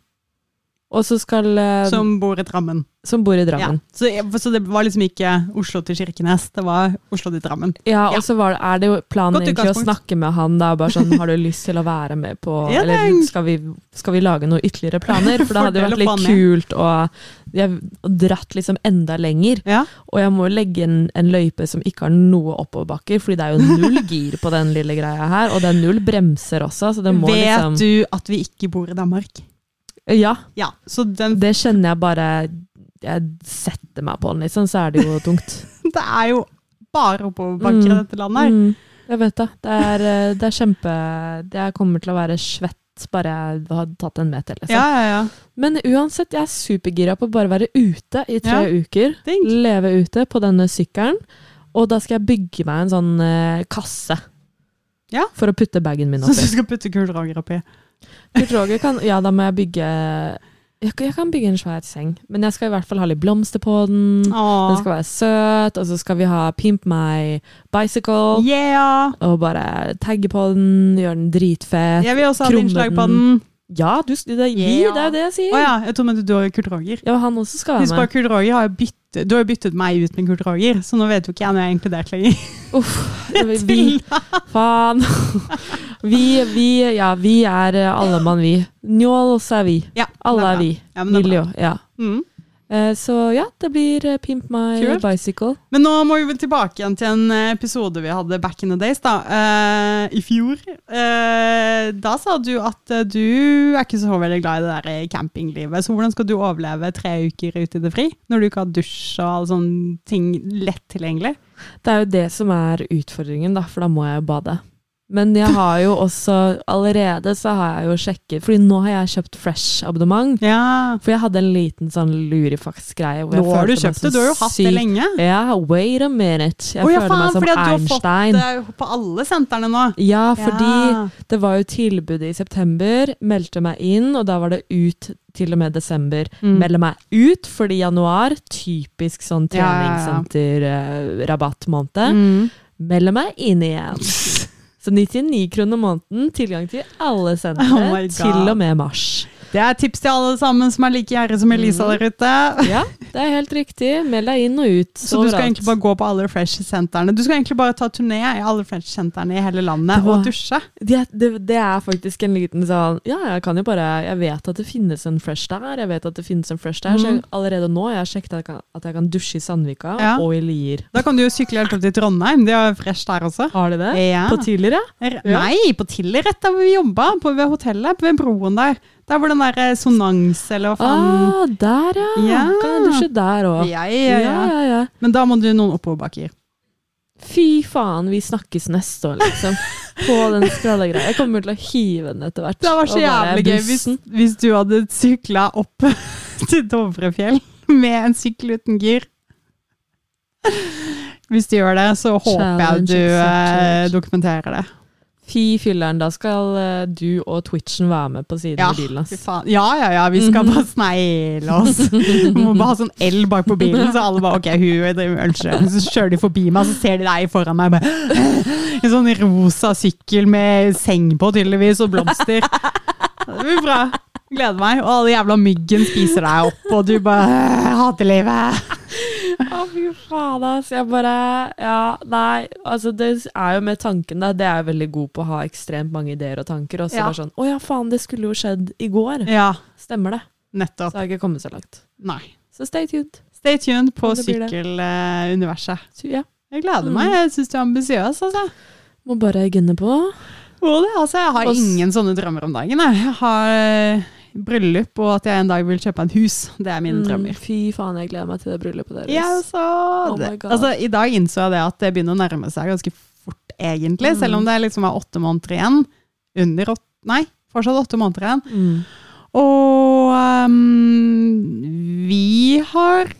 Speaker 1: Og så skal eh, som,
Speaker 2: Som bor i Drammen.
Speaker 1: bor i
Speaker 2: Ja.
Speaker 1: Drammen.
Speaker 2: Så, så det var liksom ikke Oslo til Kirkenes, det var Oslo til Drammen.
Speaker 1: Ja,
Speaker 2: Ja.
Speaker 1: og så var det, er det jo planen
Speaker 2: Godt
Speaker 1: egentlig å
Speaker 2: utgangspunkt.
Speaker 1: snakke med han da, bare sånn, har du lyst til å være med på,
Speaker 2: Ja, det er
Speaker 1: eller
Speaker 2: en-
Speaker 1: skal vi, skal vi lage noen ytterligere planer? For da hadde det
Speaker 2: Fordel å
Speaker 1: vært litt
Speaker 2: få han
Speaker 1: kult å jeg, og dratt liksom enda lenger.
Speaker 2: Ja.
Speaker 1: Og jeg må jo legge en, en løype som ikke har noe oppoverbakker, fordi det er jo null gir på den lille greia her, og det er null bremser også, så det må
Speaker 2: Vet
Speaker 1: liksom...
Speaker 2: du at vi ikke bor i Danmark?
Speaker 1: Ja,
Speaker 2: Ja, så den
Speaker 1: det kjenner jeg bare, jeg setter meg på den, liksom, så er det jo tungt.
Speaker 2: Det er jo bare oppoverbakker i
Speaker 1: Mm.
Speaker 2: dette landet. her.
Speaker 1: Mm, jeg vet det. Det er, eh, det er kjempe det- Jeg kommer til å være svett bare jeg har tatt en meter, liksom.
Speaker 2: Ja, ja, ja.
Speaker 1: Men uansett, jeg er supergira på å bare være ute i tre
Speaker 2: Ja.
Speaker 1: uker.
Speaker 2: Digg.
Speaker 1: Leve ute på denne sykkelen. Og da skal jeg bygge meg en sånn eh, kasse.
Speaker 2: Ja.
Speaker 1: For å putte bagen min
Speaker 2: Så du
Speaker 1: oppi.
Speaker 2: skal putte gullroger oppi.
Speaker 1: Kurt Roger kan Ja, da må jeg bygge jeg, kan- jeg kan bygge en svær seng, men jeg skal i hvert fall ha litt blomster på den. Den
Speaker 2: Åh.
Speaker 1: skal være søt, og så skal vi ha Pimp my bicycle.
Speaker 2: Yeah!
Speaker 1: Og bare tagge på den, gjøre den dritfet.
Speaker 2: Jeg vil også ha et
Speaker 1: Krumme
Speaker 2: innslag på
Speaker 1: den.
Speaker 2: den.
Speaker 1: Ja, du, det, er-
Speaker 2: Ja.
Speaker 1: det er jo det jeg
Speaker 2: Å
Speaker 1: sier.
Speaker 2: ja, jeg tror men du har jo Kurt Roger.
Speaker 1: Ja, han også skal
Speaker 2: Husk
Speaker 1: være
Speaker 2: bare,
Speaker 1: med.
Speaker 2: Kurt Roger har jo byttet, du har jo byttet meg ut med Kurt Roger, så nå vet jo ikke jeg om jeg er inkludert lenger.
Speaker 1: Uff, vi, vi,
Speaker 2: Tulla.
Speaker 1: faen. Vi, vi, ja, vi er eh, alle mann, vi. Njåls er vi.
Speaker 2: Ja, det
Speaker 1: Alle er
Speaker 2: bra.
Speaker 1: vi.
Speaker 2: Ja, men, det er bra.
Speaker 1: Miljo, ja.
Speaker 2: Mm.
Speaker 1: Eh, Så ja, det blir eh, Pimp my
Speaker 2: Kult.
Speaker 1: bicycle.
Speaker 2: men nå må vi vel tilbake igjen til en eh, episode vi hadde back in the days, da. eh, I fjor. Eh, da sa du at eh, du er ikke så veldig glad i det der eh, campinglivet, så hvordan skal du overleve tre uker ute i det fri? Når du ikke har dusj og alle sånne ting lett tilgjengelig?
Speaker 1: Det er jo det som er utfordringen, da, for da må jeg jo bade. Men jeg har jo også allerede så har jeg jo sjekket, fordi nå har jeg kjøpt Fresh-abonnement.
Speaker 2: Ja.
Speaker 1: For jeg hadde en liten sånn lurifax-greie. hvor jeg
Speaker 2: Nå har du
Speaker 1: følte meg
Speaker 2: kjøpt det,
Speaker 1: som
Speaker 2: du har jo hatt det
Speaker 1: syk-
Speaker 2: lenge.
Speaker 1: Ja, wait a minute. Jeg
Speaker 2: Å ja,
Speaker 1: føler
Speaker 2: faen,
Speaker 1: meg som
Speaker 2: fordi at du har fått
Speaker 1: Einstein.
Speaker 2: Det er jo på alle sentrene nå.
Speaker 1: Ja, fordi
Speaker 2: Ja.
Speaker 1: det var jo tilbudet i september. Meldte meg inn, og da var det ut til og med desember.
Speaker 2: Mm.
Speaker 1: Melde meg ut, fordi januar, typisk sånn
Speaker 2: Ja, ja, ja.
Speaker 1: treningssenter-rabattmåned.
Speaker 2: Mm.
Speaker 1: Melde meg inn igjen. Så 99 kroner måneden, tilgang til alle sentre,
Speaker 2: Oh my God.
Speaker 1: til og med mars.
Speaker 2: Det er tips til alle sammen som er like gjerrige som
Speaker 1: Mm.
Speaker 2: Elisa der ute.
Speaker 1: Ja, det er helt riktig. Meld deg inn og ut.
Speaker 2: Så du skal
Speaker 1: overalt.
Speaker 2: egentlig bare gå på alle Fresh-sentrene. Du skal egentlig bare ta turné i alle Fresh-sentrene i hele landet
Speaker 1: Det var-
Speaker 2: og dusje.
Speaker 1: det, det, det er faktisk en liten sånn Ja, jeg kan jo bare Jeg vet at det finnes en fresh der, jeg vet at det finnes en fresh der. Så jeg, allerede nå jeg har sjekket at jeg kan, at jeg kan dusje i Sandvika
Speaker 2: Mhm. Ja.
Speaker 1: og i Lier.
Speaker 2: Da kan du jo sykle helt opp til Trondheim. Det er jo Fresh der også.
Speaker 1: Har de det?
Speaker 2: Ja.
Speaker 1: På tidligere?
Speaker 2: R- Nei, på Tillerett, der hvor vi jobba. På, ved hotellet, ved broen der. Der hvor den der eh, sonans, eller hva faen.
Speaker 1: Ah, der, ja.
Speaker 2: Ja.
Speaker 1: Kan jeg dusje der òg?
Speaker 2: Ja, ja, ja.
Speaker 1: Ah. ja, ja.
Speaker 2: Men da må du noen oppoverbakker.
Speaker 1: Fy faen, vi snakkes neste år, liksom. På den skrallegreia. Jeg kommer til å hive den etter hvert.
Speaker 2: Det var så
Speaker 1: og bare
Speaker 2: jævlig gøy hvis,
Speaker 1: bussen.
Speaker 2: hvis du hadde sykla opp til Dovrefjell med en sykkel uten gir. Hvis du gjør det, så håper jeg
Speaker 1: Challenge
Speaker 2: du eh,
Speaker 1: accepted.
Speaker 2: dokumenterer det.
Speaker 1: Fy fylleren, da skal eh, du og Twitchen være med på siden
Speaker 2: Ja,
Speaker 1: av bilen. ass.
Speaker 2: fy
Speaker 1: Mhm.
Speaker 2: faen. ja, ja, ja, vi skal bare snegle oss. Vi må bare ha sånn L bak på bilen, så alle bare OK, hun driver med ølkjøring. Så kjører de forbi meg, så ser de deg foran meg. Bare, en sånn rosa sykkel med seng på, tydeligvis, og blomster. Det blir bra. Gleder meg. Og alle jævla myggen spiser deg opp, og du bare «Jeg hater livet.
Speaker 1: Å, fy faen, ass. Jeg bare Ja, nei. Altså, det er jo med tanken, da. Det er jeg veldig god på å ha ekstremt mange ideer og tanker. Og så
Speaker 2: Ja.
Speaker 1: bare sånn Å ja, faen, det skulle jo skjedd i går.
Speaker 2: Ja,
Speaker 1: Stemmer det. Så
Speaker 2: nettopp.
Speaker 1: har jeg ikke kommet så langt.
Speaker 2: Nei.
Speaker 1: Så stay tuned.
Speaker 2: Stay tuned på
Speaker 1: Ja, det blir det.
Speaker 2: sykkeluniverset.
Speaker 1: Så, ja.
Speaker 2: Jeg gleder
Speaker 1: Mm.
Speaker 2: meg. Jeg syns du er ambisiøs, altså.
Speaker 1: Må bare gunne på.
Speaker 2: Og det, altså, jeg har
Speaker 1: Og s-
Speaker 2: ingen sånne drømmer om dagen. Jeg, jeg har eh, bryllup og at jeg en dag vil kjøpe et hus. Det er
Speaker 1: Mm.
Speaker 2: mine drømmer.
Speaker 1: fy faen, jeg gleder meg til det bryllupet deres.
Speaker 2: Ja, så
Speaker 1: Oh
Speaker 2: det.
Speaker 1: my God.
Speaker 2: altså, I dag innså jeg det at det begynner å nærme seg ganske fort, egentlig. Selv
Speaker 1: Mm.
Speaker 2: om det liksom er åtte måneder igjen. Under åtte Nei, fortsatt åtte måneder igjen.
Speaker 1: Mm.
Speaker 2: Og ehm, vi har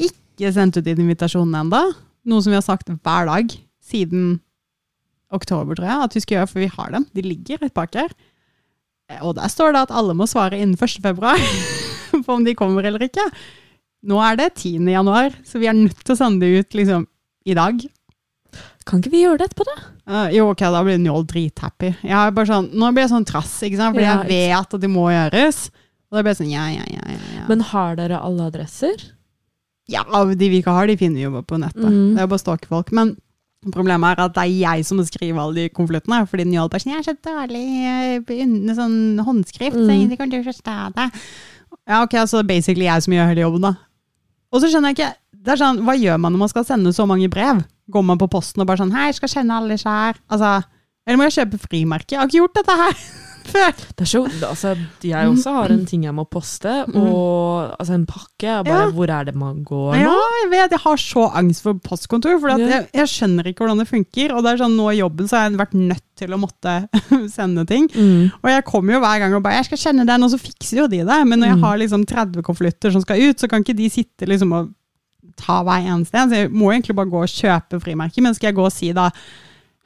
Speaker 2: ikke sendt ut invitasjonen ennå. Noe som vi har sagt hver dag siden oktober, tror jeg, at vi skal gjøre, for vi har dem. De ligger rett bak her. Eh, Og der står det at alle må svare innen 1. februar på om de kommer eller ikke. Nå er det 10. januar, så vi er nødt til å sende det ut liksom i dag.
Speaker 1: Kan ikke vi gjøre det etterpå, da?
Speaker 2: Eh, jo, ok, da blir Njål drithappy. Jeg er bare sånn, nå blir jeg sånn trass, ikke sant? Fordi
Speaker 1: Ja,
Speaker 2: jeg vet at det må gjøres. Og da blir jeg sånn, ja, ja, ja, ja. ja.
Speaker 1: Men har dere alle adresser?
Speaker 2: ja, de vi ikke har, de finner vi jo bare på nettet.
Speaker 1: Mm.
Speaker 2: Det er jo bare å stalke folk. Men problemet er at det er jeg som må skrive alle de konvoluttene. Fordi Njål bare sånn, jeg er så dårlig eh, under sånn håndskrift, så
Speaker 1: Mm.
Speaker 2: ingen kan jo forstå det. Ja, ok, så det er basically jeg som gjør hele jobben da. Og så skjønner jeg ikke, det er sånn, hva gjør man når man skal sende så mange brev? Går man på posten og bare sånn, hei, jeg skal kjenne alle disse her. Altså, eller må jeg kjøpe frimerke? Jeg har ikke gjort dette her. kjempe!
Speaker 1: Det er så, altså, jeg også har en ting jeg må poste, og altså, en pakke. og Bare,
Speaker 2: Ja.
Speaker 1: Hvor er det man går
Speaker 2: Ja,
Speaker 1: nå?
Speaker 2: jeg vet, jeg har så angst for postkontor, for at
Speaker 1: Ja.
Speaker 2: jeg, jeg skjønner ikke hvordan det funker. Og det er sånn, nå i jobben så har jeg vært nødt til å måtte sende ting.
Speaker 1: Mm.
Speaker 2: Og jeg kommer jo hver gang og bare 'jeg skal kjenne den', og så fikser jo de det. Men når jeg
Speaker 1: Mm.
Speaker 2: har liksom 30 konvolutter som skal ut, så kan ikke de sitte liksom og ta hver eneste en. Så jeg må egentlig bare gå og kjøpe frimerker. Men skal jeg gå og si da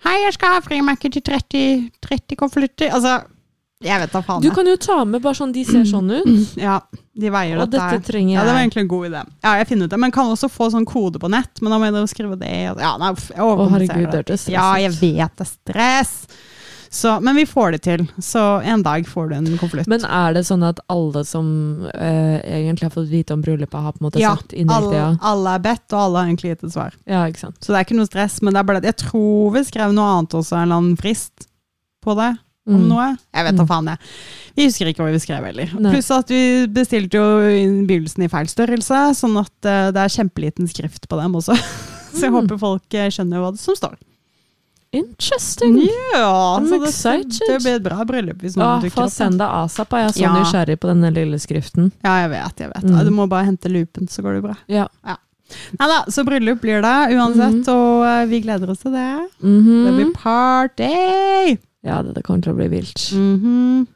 Speaker 2: 'hei, jeg skal ha frimerker til 30, 30 konvolutter'? Altså, jeg vet da faen.
Speaker 1: Du
Speaker 2: jeg.
Speaker 1: kan jo ta med bare sånn de ser sånn ut,
Speaker 2: Ja, de veier
Speaker 1: og
Speaker 2: dette.
Speaker 1: dette
Speaker 2: her.
Speaker 1: trenger jeg.
Speaker 2: Ja, det var egentlig en god idé. Ja, jeg finner ut det. Men kan også få sånn kode på nett, men da må jeg da skrive det. og- Ja, nei, uff, jeg
Speaker 1: Å,
Speaker 2: overkompenserer
Speaker 1: herregud,
Speaker 2: det.
Speaker 1: det hørtes
Speaker 2: Ja, jeg
Speaker 1: stress ut.
Speaker 2: vet det er stress. Så, men vi får det til. Så en dag får du en konvolutt.
Speaker 1: Men er det sånn at alle som eh, egentlig har fått vite om bryllupet, har på en måte
Speaker 2: Ja,
Speaker 1: sagt indirekte
Speaker 2: alle,
Speaker 1: ja?
Speaker 2: alle er bedt, og alle har egentlig gitt et svar.
Speaker 1: Ja, ikke sant.
Speaker 2: Så det er ikke noe stress, men det er bare det at jeg tror vi skrev noe annet også, en eller annen frist på det, om
Speaker 1: Mm.
Speaker 2: noe. Jeg vet da
Speaker 1: Mm.
Speaker 2: faen, jeg. Vi husker ikke hva vi skrev heller.
Speaker 1: Nei.
Speaker 2: Pluss at vi bestilte jo innbydelsen i feil størrelse, sånn at eh, det er kjempeliten skrift på dem også. Så jeg
Speaker 1: Mm.
Speaker 2: håper folk eh, skjønner hva det som står.
Speaker 1: Interesting!
Speaker 2: Ja,
Speaker 1: I'm
Speaker 2: så det,
Speaker 1: excited.
Speaker 2: det blir et bra bryllup hvis noen
Speaker 1: Åh,
Speaker 2: dukker
Speaker 1: Få
Speaker 2: opp. da.
Speaker 1: send deg asap, jeg er så
Speaker 2: Ja.
Speaker 1: nysgjerrig på denne lille skriften.
Speaker 2: Ja, jeg vet, jeg vet. Ah,
Speaker 1: Mm.
Speaker 2: Du må bare hente lupen, så går det bra.
Speaker 1: Ja.
Speaker 2: Nei da, så bryllup blir det uansett,
Speaker 1: Mhm.
Speaker 2: og eh, vi gleder oss til det.
Speaker 1: Mhm.
Speaker 2: Det blir party!
Speaker 1: Ja, det, det kommer til å bli vilt. Mm-hmm.
Speaker 2: Mhm.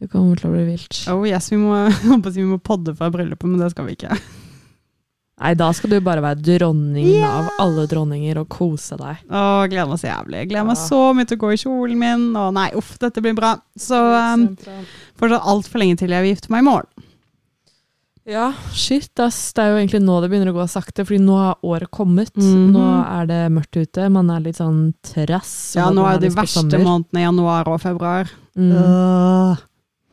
Speaker 1: Det kommer til å bli vilt.
Speaker 2: Oh yes, vi må, jeg holdt på å si vi må podde fra bryllupet, men det skal vi ikke.
Speaker 1: Nei, da skal du bare være dronningen
Speaker 2: Ja.
Speaker 1: av alle dronninger og kose deg.
Speaker 2: Å, gleder meg så jævlig. Gleder meg
Speaker 1: Ja.
Speaker 2: så mye til å gå i kjolen min. Og nei, uff, dette blir bra. Så um, fortsatt altfor lenge til jeg vil gifte meg i morgen.
Speaker 1: Ja, shit, ass. Det er jo egentlig nå det begynner å gå sakte, fordi nå har året kommet.
Speaker 2: Mhm.
Speaker 1: Nå er det mørkt ute, man er litt sånn trass.
Speaker 2: Ja,
Speaker 1: og
Speaker 2: nå
Speaker 1: man
Speaker 2: er jo de
Speaker 1: litt på
Speaker 2: verste
Speaker 1: sommer.
Speaker 2: månedene januar og februar.
Speaker 1: Mm.
Speaker 2: Øh.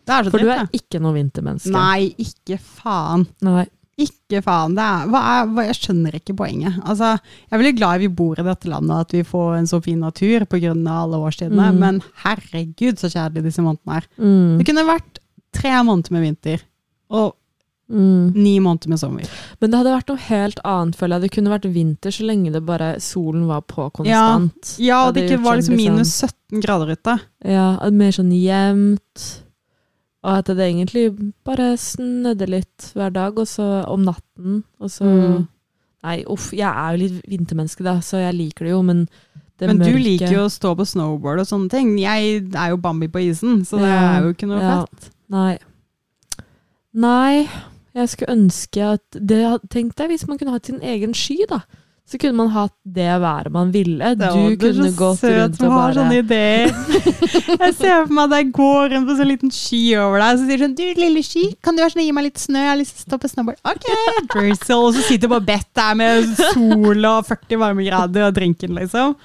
Speaker 2: Det er så
Speaker 1: For du
Speaker 2: dritt,
Speaker 1: er
Speaker 2: det.
Speaker 1: ikke noe vintermenneske.
Speaker 2: Nei, ikke faen.
Speaker 1: Nei.
Speaker 2: Ikke faen. Det er, hva er, hva, jeg skjønner ikke poenget. Altså, jeg er veldig glad vi bor i dette landet, at vi får en så fin natur pga. alle årstidene,
Speaker 1: Mhm.
Speaker 2: men herregud så kjedelig disse månedene er.
Speaker 1: Mm.
Speaker 2: Det kunne vært tre måneder med vinter og
Speaker 1: Mm.
Speaker 2: ni måneder med sommer.
Speaker 1: Men det hadde vært noe helt annet, føler jeg. Det kunne vært vinter så lenge det bare solen var på konstant.
Speaker 2: Ja, og
Speaker 1: Det
Speaker 2: det
Speaker 1: hadde
Speaker 2: ikke
Speaker 1: gjort
Speaker 2: var
Speaker 1: sånn,
Speaker 2: liksom
Speaker 1: liksom.
Speaker 2: minus 17 grader ute.
Speaker 1: Ja, at mer sånn jevnt. Og at det egentlig bare snødde litt hver dag, og så om natten. Og så
Speaker 2: Mm.
Speaker 1: Nei, uff, jeg er jo litt vintermenneske, da, så jeg liker det jo, men det
Speaker 2: Men du
Speaker 1: mørke-
Speaker 2: liker jo å stå på snowboard og sånne ting. Jeg er jo Bambi på isen, så det
Speaker 1: Ja,
Speaker 2: er jo ikke noe
Speaker 1: ja.
Speaker 2: fett.
Speaker 1: Nei. Nei, jeg skulle ønske at det, Tenk deg hvis man kunne hatt sin egen sky, da. Så kunne man hatt det været man ville.
Speaker 2: Det
Speaker 1: Du
Speaker 2: er
Speaker 1: kunne
Speaker 2: så
Speaker 1: gått rundt
Speaker 2: som
Speaker 1: og
Speaker 2: har
Speaker 1: bare
Speaker 2: sånn sånne ideer. Jeg ser for meg at jeg går rundt på sånn liten ski over deg, og så sier sånn Du, lille ski, kan du være snill å gi meg litt snø? Jeg har lyst til å stå på snowboard. Ok, drizzle. Og så sitter bare Bett der med sol og 40 varmegrader og drinken, liksom.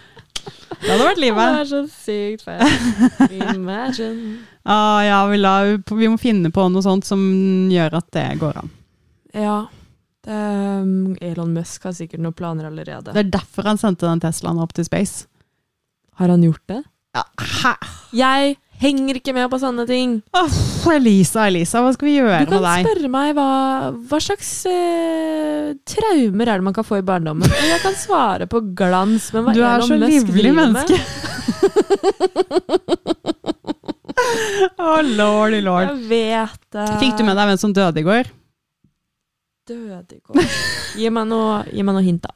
Speaker 2: Det hadde vært
Speaker 1: Det
Speaker 2: livet.
Speaker 1: er så sykt fett. Imagine.
Speaker 2: Ah, ja, vi, la, vi må finne på noe sånt som gjør at det går an.
Speaker 1: Ja. Det, um, Elon Musk har sikkert noen planer allerede.
Speaker 2: Det er derfor han sendte den Teslaen opp til space.
Speaker 1: Har han gjort det?
Speaker 2: Ja, hæ?
Speaker 1: Jeg henger ikke med på sånne ting!
Speaker 2: Åh, Elisa, Elisa, hva skal vi gjøre
Speaker 1: Du kan
Speaker 2: med deg?
Speaker 1: spørre meg hva, hva slags eh, traumer er det man kan få i barndommen. Og jeg kan svare på glans, men hva
Speaker 2: Du er
Speaker 1: Elon
Speaker 2: så
Speaker 1: Musk
Speaker 2: livlig
Speaker 1: driver
Speaker 2: menneske.
Speaker 1: Med?
Speaker 2: Å, lordy lord.
Speaker 1: Jeg vet eh, det.
Speaker 2: Fikk du med deg hvem som døde i går?
Speaker 1: Døde i går. Gi meg noe, gi meg noe hint, da.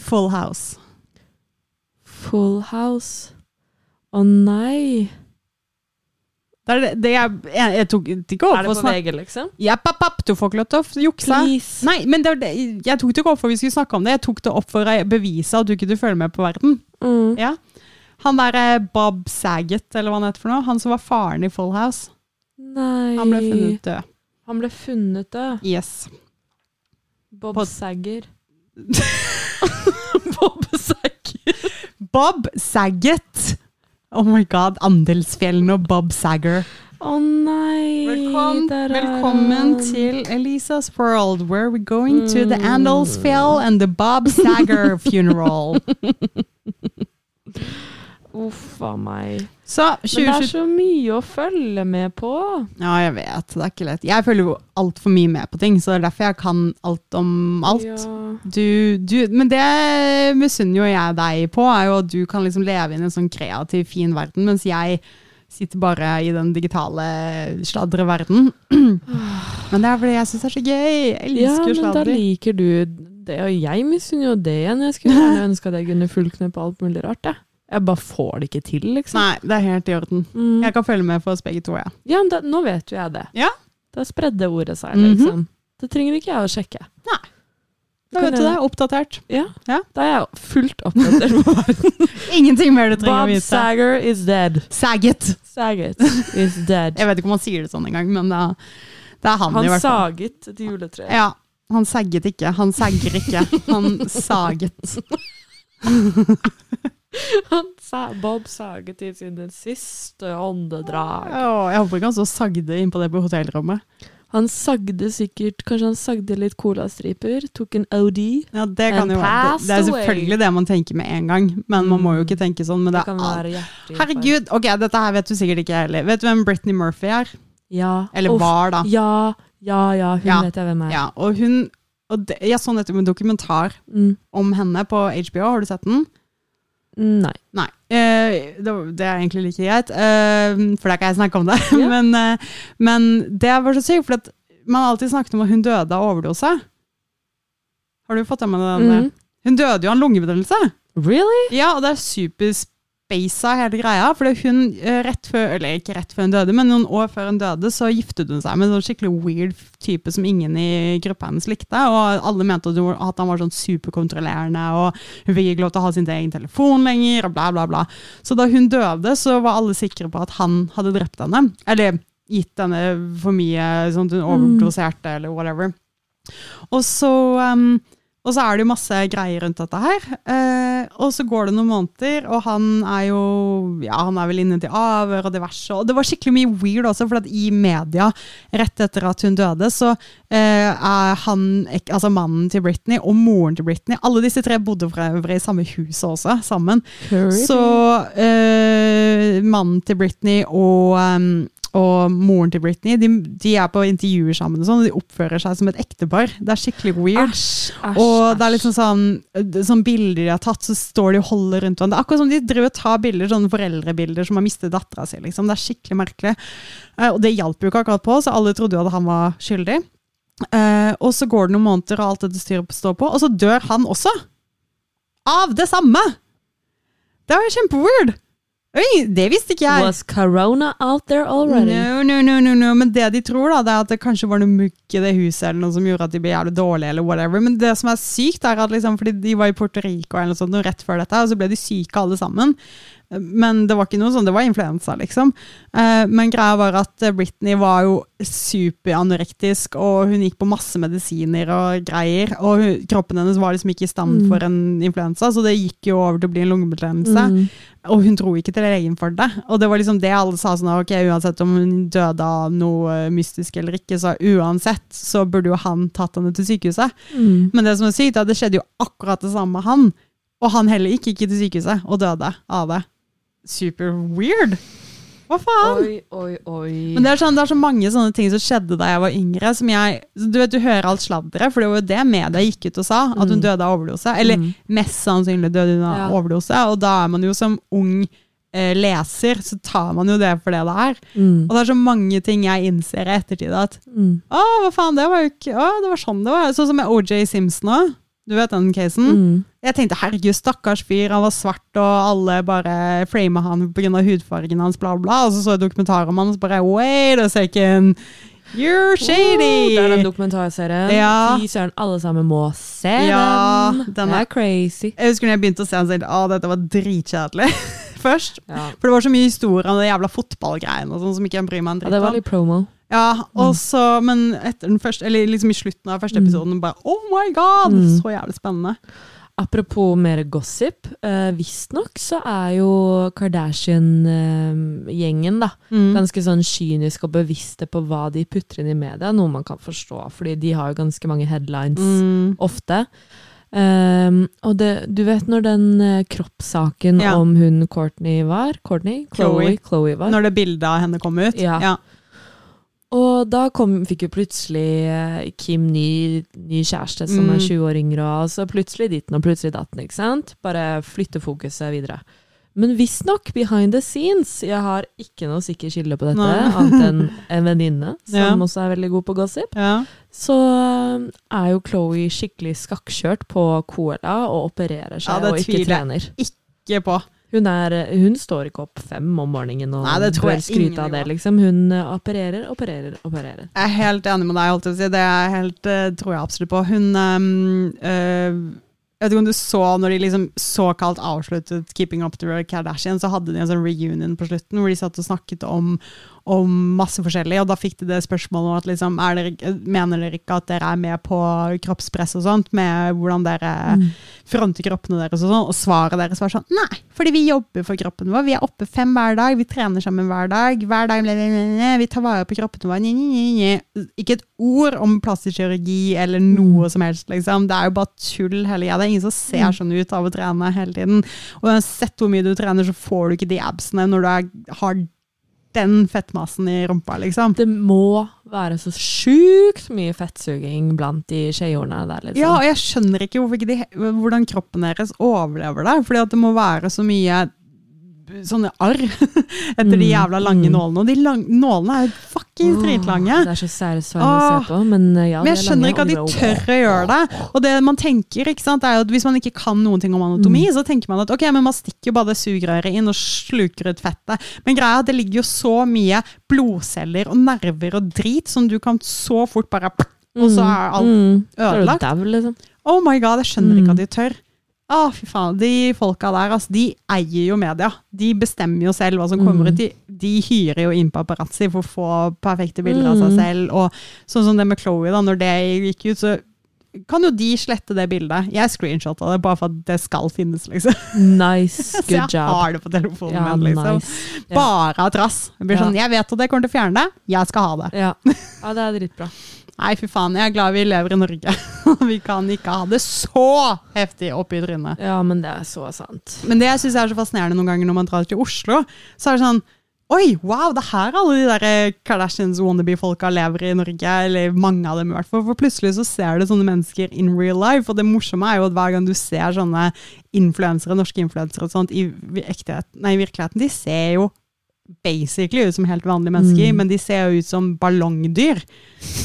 Speaker 2: Full House.
Speaker 1: Full House. Å nei.
Speaker 2: Det er det, det jeg, jeg, jeg tok det ikke opp
Speaker 1: Er
Speaker 2: for
Speaker 1: det
Speaker 2: å
Speaker 1: på
Speaker 2: snakke
Speaker 1: VG, liksom?
Speaker 2: ja, papp, papp, Du får ikke lov til å jukse.
Speaker 1: Please.
Speaker 2: Nei, men det, var det, jeg tok det ikke opp for vi skulle snakke om det. Jeg tok det opp for å bevise at du ikke følger med på verden.
Speaker 1: Mm.
Speaker 2: Ja. Han derre Bob Saget, eller hva han heter for noe, han som var faren i Full House,
Speaker 1: nei.
Speaker 2: han ble funnet død.
Speaker 1: Han ble funnet død.
Speaker 2: Yes.
Speaker 1: Bob
Speaker 2: Pod-
Speaker 1: Sager. Bob Sager.
Speaker 2: Bob Saget! Oh my god, Andelsfjellene og Bob Sagger.
Speaker 1: Å nei. der er
Speaker 2: velkommen
Speaker 1: han.
Speaker 2: til Elisas World, where we're going to the
Speaker 1: Mm.
Speaker 2: Andelsfjell and the Bob Sager funeral.
Speaker 1: Uff a meg.
Speaker 2: Så
Speaker 1: Men det er
Speaker 2: 2020
Speaker 1: så mye å følge med på.
Speaker 2: Ja, jeg vet, det er ikke lett. Jeg følger jo altfor mye med på ting, så det er derfor jeg kan alt om alt.
Speaker 1: Ja.
Speaker 2: Du, du, men det misunner jo jeg deg på, er jo at du kan liksom leve inn i en sånn kreativ, fin verden, mens jeg Sitter bare i den digitale sladreverden. Men det er fordi jeg syns det er så gøy.
Speaker 1: Ja,
Speaker 2: Jeg elsker
Speaker 1: men da
Speaker 2: sladder.
Speaker 1: liker du det, og jeg misunner jo det igjen. Jeg skulle gjerne ønske at jeg kunne fulgt med på alt mulig rart, jeg. Jeg bare får det ikke til, liksom.
Speaker 2: Nei, det er helt i orden.
Speaker 1: Mm.
Speaker 2: Jeg kan følge med for oss begge to, ja.
Speaker 1: Ja, men da, nå vet jo jeg det.
Speaker 2: Ja.
Speaker 1: Da spredde ordet seg,
Speaker 2: Mhm.
Speaker 1: liksom. Det trenger ikke jeg å sjekke.
Speaker 2: Da vet du det. Oppdatert.
Speaker 1: Ja.
Speaker 2: Ja.
Speaker 1: Da er jeg fullt oppdatert på verden.
Speaker 2: Ingenting mer du trenger
Speaker 1: Bob
Speaker 2: å vite.
Speaker 1: Sager is dead.
Speaker 2: Saget.
Speaker 1: Saget is dead.
Speaker 2: Jeg vet ikke om han sier det sånn engang, men det er, det er han, i
Speaker 1: Han
Speaker 2: hvert fall.
Speaker 1: saget et juletre.
Speaker 2: Ja, han sagget ikke. Han sagger ikke. Han saget.
Speaker 1: Han sa, Bob saget i sin siste åndedrag.
Speaker 2: Åh, jeg håper ikke han så sagde inn på det på hotellrommet.
Speaker 1: Han sagde sikkert Kanskje han sagde litt colastriper? Tok en OD?
Speaker 2: Ja, det, kan
Speaker 1: And
Speaker 2: jo være. det, det er
Speaker 1: passed away.
Speaker 2: selvfølgelig det man tenker med en gang, men man må jo ikke tenke sånn. Men det
Speaker 1: Det
Speaker 2: er
Speaker 1: kan
Speaker 2: alt.
Speaker 1: være hjertelig.
Speaker 2: Herregud, ok, dette her vet du sikkert ikke heller. Vet du hvem Britney Murphy er?
Speaker 1: Ja.
Speaker 2: Eller
Speaker 1: Uff.
Speaker 2: var, da.
Speaker 1: Ja, ja, ja. Hun
Speaker 2: Ja.
Speaker 1: vet jeg hvem er.
Speaker 2: Ja, og hun, og det, jeg så nettopp en dokumentar
Speaker 1: Mm.
Speaker 2: om henne på HBO, har du sett den?
Speaker 1: Nei.
Speaker 2: Nei, eh, det, var- det er egentlig like greit, eh, for da kan jeg snakke om det.
Speaker 1: Ja.
Speaker 2: men, eh, men det var så sykt, for at man har alltid snakket om at hun døde av overdose. Har du fått det med deg?
Speaker 1: Mm.
Speaker 2: Hun døde jo av en lungebetennelse.
Speaker 1: Really?
Speaker 2: Ja, og det er superspasa hele greia, for hun eh, rett før, eller ikke rett før hun døde, men noen år før hun døde, så giftet hun seg med en sånn skikkelig weird type som ingen i gruppa hennes likte, og alle mente at hun- at han var sånn superkontrollerende, og hun fikk ikke lov til å ha sin egen telefon lenger, og bla, bla, bla. Så da hun døde, så var alle sikre på at han hadde drept henne. Eller gitt henne for mye, sånn at hun overdoserte, eller whatever. Og så, um, og så er det jo masse greier rundt dette her. Eh, og så går det noen måneder, og han er jo ja, han er vel inne til avhør og diverse. Og det var skikkelig mye weird også, for at i media, rett etter at hun døde, så eh, er han, ek- altså mannen til Britney og moren til Britney Alle disse tre bodde for øvrig i samme huset også, sammen. Så eh, mannen til Britney og, ehm, og moren til Britney de, de er på intervjuer sammen, og sånn, og de oppfører seg som et ektepar. Det er skikkelig weird.
Speaker 1: Æsj, æsj,
Speaker 2: Og det er
Speaker 1: æsj.
Speaker 2: liksom sånn, det- sånn bilder de har tatt, så står de og holder rundt hverandre. Det er Akkurat som de driver og tar bilder, sånne foreldrebilder som har mistet dattera si. Liksom. Det er skikkelig merkelig. Eh, og det hjalp jo ikke akkurat på, så alle trodde jo at han var skyldig. Eh, og så går det noen måneder, og alt dette styret står på, og så dør han også. Av det samme! Det var jo kjempeweird! Oi, Det visste ikke jeg.
Speaker 1: Was corona out there already?
Speaker 2: No, no, no, no, no. Men det de tror, da, det er at det kanskje var noe mugg i det huset eller noe som gjorde at de ble jævlig dårlige, eller whatever. Men det som er sykt, er at liksom, fordi de var i Puerto Rico eller noe sånt noe rett før dette, og så ble de syke alle sammen. Men det var ikke noe sånn, det var influensa, liksom. Eh, Men greia var at eh, Britney var jo superanorektisk, og hun gikk på masse medisiner og greier. Og hun, kroppen hennes var liksom ikke i stand
Speaker 1: Mm.
Speaker 2: for en influensa, så det gikk jo over til å bli en lungebetennelse.
Speaker 1: Mm.
Speaker 2: Og hun dro ikke til legen for det. Og det var liksom det alle sa sånn ok, uansett om hun døde av noe eh, mystisk eller ikke, så uansett så burde jo han tatt henne til sykehuset.
Speaker 1: Mm.
Speaker 2: Men det som er sykt, er at det skjedde jo akkurat det samme med han. Og han heller gikk ikke til sykehuset og døde av det. Super weird! Hva faen?
Speaker 1: Oi, oi, oi.
Speaker 2: Men det er, sånn, det er så mange sånne ting som skjedde da jeg var yngre. som jeg, Du vet, du hører alt sladderet, for det var jo det media gikk ut og sa. At hun
Speaker 1: Mm.
Speaker 2: døde av overdose. Eller
Speaker 1: Mm.
Speaker 2: mest sannsynlig døde hun
Speaker 1: Ja.
Speaker 2: av overdose. Og da er man jo som ung eh, leser, så tar man jo det for det det er.
Speaker 1: Mm.
Speaker 2: Og det er så mange ting jeg innser i ettertid at
Speaker 1: Mm.
Speaker 2: å, hva faen, det var jo ikke Å, det var sånn det var. Sånn som med OJ Simpson òg. Du vet den casen?
Speaker 1: Mm.
Speaker 2: Jeg tenkte herregud, stakkars fyr, han var svart, og alle bare frama han pga. hudfargen hans, bla, bla. Og så så jeg dokumentaren om han, og så bare wait a second, you're
Speaker 1: Oh,
Speaker 2: shady!
Speaker 1: det er den dokumentarserien.
Speaker 2: Ja.
Speaker 1: Fy søren, alle sammen må se
Speaker 2: Ja,
Speaker 1: den. Det
Speaker 2: den er-
Speaker 1: er crazy.
Speaker 2: jeg husker når jeg begynte å se han, så tenkte jeg å, dette var dritkjedelig først.
Speaker 1: Ja.
Speaker 2: For det var så mye historier om de jævla fotballgreiene og sånn som ikke jeg bryr meg en
Speaker 1: Ja, det
Speaker 2: dritt
Speaker 1: var
Speaker 2: om.
Speaker 1: litt promo.
Speaker 2: Ja, og så, men etter den første, eller liksom i slutten av første
Speaker 1: Mm.
Speaker 2: episoden, bare oh my god!
Speaker 1: Mm.
Speaker 2: Så jævlig spennende.
Speaker 1: Apropos mer gossip. Eh, Visstnok så er jo Kardashian-gjengen, da,
Speaker 2: Mm.
Speaker 1: ganske sånn kynisk og bevisste på hva de putter inn i media, noe man kan forstå, fordi de har jo ganske mange headlines
Speaker 2: Mm.
Speaker 1: ofte. Ehm, og det, du vet når den eh, kroppssaken
Speaker 2: Ja.
Speaker 1: om hun Courtney var? Courtney?
Speaker 2: Khloe.
Speaker 1: Chloé. Chloé var.
Speaker 2: Når det bildet av henne kom ut.
Speaker 1: Ja. Og da kom, fikk jo plutselig eh, Kim ny, ny kjæreste som
Speaker 2: Mm.
Speaker 1: er 20 år yngre, og så plutselig ditten og plutselig datten, ikke sant? Bare flytte fokuset videre. Men visstnok behind the scenes. Jeg har ikke noe sikker kilde på dette,
Speaker 2: Nei.
Speaker 1: annet enn en venninne som
Speaker 2: Ja.
Speaker 1: også er veldig god på gossip.
Speaker 2: Ja.
Speaker 1: Så øhm, er jo Chloé skikkelig skakkjørt på Cola og opererer seg
Speaker 2: Ja,
Speaker 1: og
Speaker 2: det
Speaker 1: ikke
Speaker 2: tviler jeg
Speaker 1: trener.
Speaker 2: Ikke på.
Speaker 1: Hun, er, eh, hun står ikke opp fem om morgenen og
Speaker 2: Nei, det tror
Speaker 1: bør
Speaker 2: jeg ingen
Speaker 1: skryte av det,
Speaker 2: gjør.
Speaker 1: liksom. Hun øh, opererer, opererer, opererer.
Speaker 2: Jeg er helt enig med deg. holdt jeg på å si. Det er jeg helt, eh, tror jeg absolutt på. Hun ehm, eh, Jeg vet ikke om du så når de liksom såkalt avsluttet 'Keeping Up The Kardashian', så hadde de en sånn reunion på slutten hvor de satt og snakket om, om masse forskjellig. Og da fikk de det spørsmålet om at liksom, er dere, ikke- mener dere ikke at dere er med på kroppspress og sånt, med hvordan dere
Speaker 1: Mm.
Speaker 2: fronte kroppene deres og sånn, og svaret deres var sånn Nei, fordi vi jobber for kroppen vår. Vi er oppe fem hver dag, vi trener sammen hver dag. Hver dag, bla, bla, bla, bla, Vi tar vare på kroppene våre. Nye, nye, nye. Ikke et ord om plastisk kirurgi eller noe som helst, liksom. Det er jo bare tull hele greia. Det er ingen som ser
Speaker 1: Mm.
Speaker 2: sånn ut av å trene hele tiden. Og uansett hvor mye du trener, så får du ikke de absene når du er, har den fettmassen i rumpa, liksom.
Speaker 1: Det må være så sjukt mye fettsuging blant de skjehorna der, liksom.
Speaker 2: Ja, og jeg skjønner ikke hvorfor ikke de, hvordan kroppen deres overlever det. Fordi at det må være så mye sånne arr etter de
Speaker 1: Mm,
Speaker 2: jævla lange
Speaker 1: mm.
Speaker 2: nålene. Og de lang, nålene er jo fuckings
Speaker 1: Åh,
Speaker 2: dritlange.
Speaker 1: Det er så satisfying å se på, men eh, ja,
Speaker 2: Men jeg skjønner ikke at de tør å gjøre det. Og det man tenker, ikke sant, er jo at hvis man ikke kan noen ting om anatomi,
Speaker 1: Mm.
Speaker 2: så tenker man at ok, men man stikker jo bare det sugerøret inn og sluker ut fettet. Men greia er at det ligger jo så mye blodceller og nerver og drit som du kan så fort bare
Speaker 1: Mm.
Speaker 2: Og så er alt ødelagt.
Speaker 1: Dau, liksom.
Speaker 2: Oh my god, jeg skjønner ikke
Speaker 1: Mm.
Speaker 2: at de tør. Å, fy faen. De folka der, altså, de eier jo media. De bestemmer jo selv hva som kommer
Speaker 1: Mm.
Speaker 2: ut. De, de hyrer jo inn paparazzi for å få perfekte bilder av
Speaker 1: Mm.
Speaker 2: seg selv. Og sånn som det med Chloé, da. Når det gikk ut, så kan jo de slette det bildet. Jeg screenshotta det bare for at det skal finnes, liksom.
Speaker 1: Nice,
Speaker 2: Så jeg
Speaker 1: good job.
Speaker 2: har det på telefonen
Speaker 1: Ja,
Speaker 2: min, liksom.
Speaker 1: nice. ja.
Speaker 2: Bare av trass. Jeg blir
Speaker 1: Ja.
Speaker 2: sånn, jeg vet at jeg kommer til å fjerne det. Jeg skal ha det.
Speaker 1: Ja. ja, det er dritbra.
Speaker 2: Nei, fy faen. Jeg er glad vi lever i Norge. vi kan ikke ha det så heftig oppi trynet.
Speaker 1: Ja, men det er så sant.
Speaker 2: Men det jeg syns er så fascinerende noen ganger når man drar til Oslo, så er det sånn Oi, wow, det er her alle de der eh, Kardashians wannabe-folka lever i Norge. Eller mange av dem, i hvert fall. For plutselig så ser du sånne mennesker in real life. Og det morsomme er jo at hver gang du ser sånne influensere, norske influensere og sånt, i, vi- ektigheten- nei, i virkeligheten, de ser jo basically ut som helt vanlige mennesker,
Speaker 1: Mm.
Speaker 2: men de ser jo ut som ballongdyr.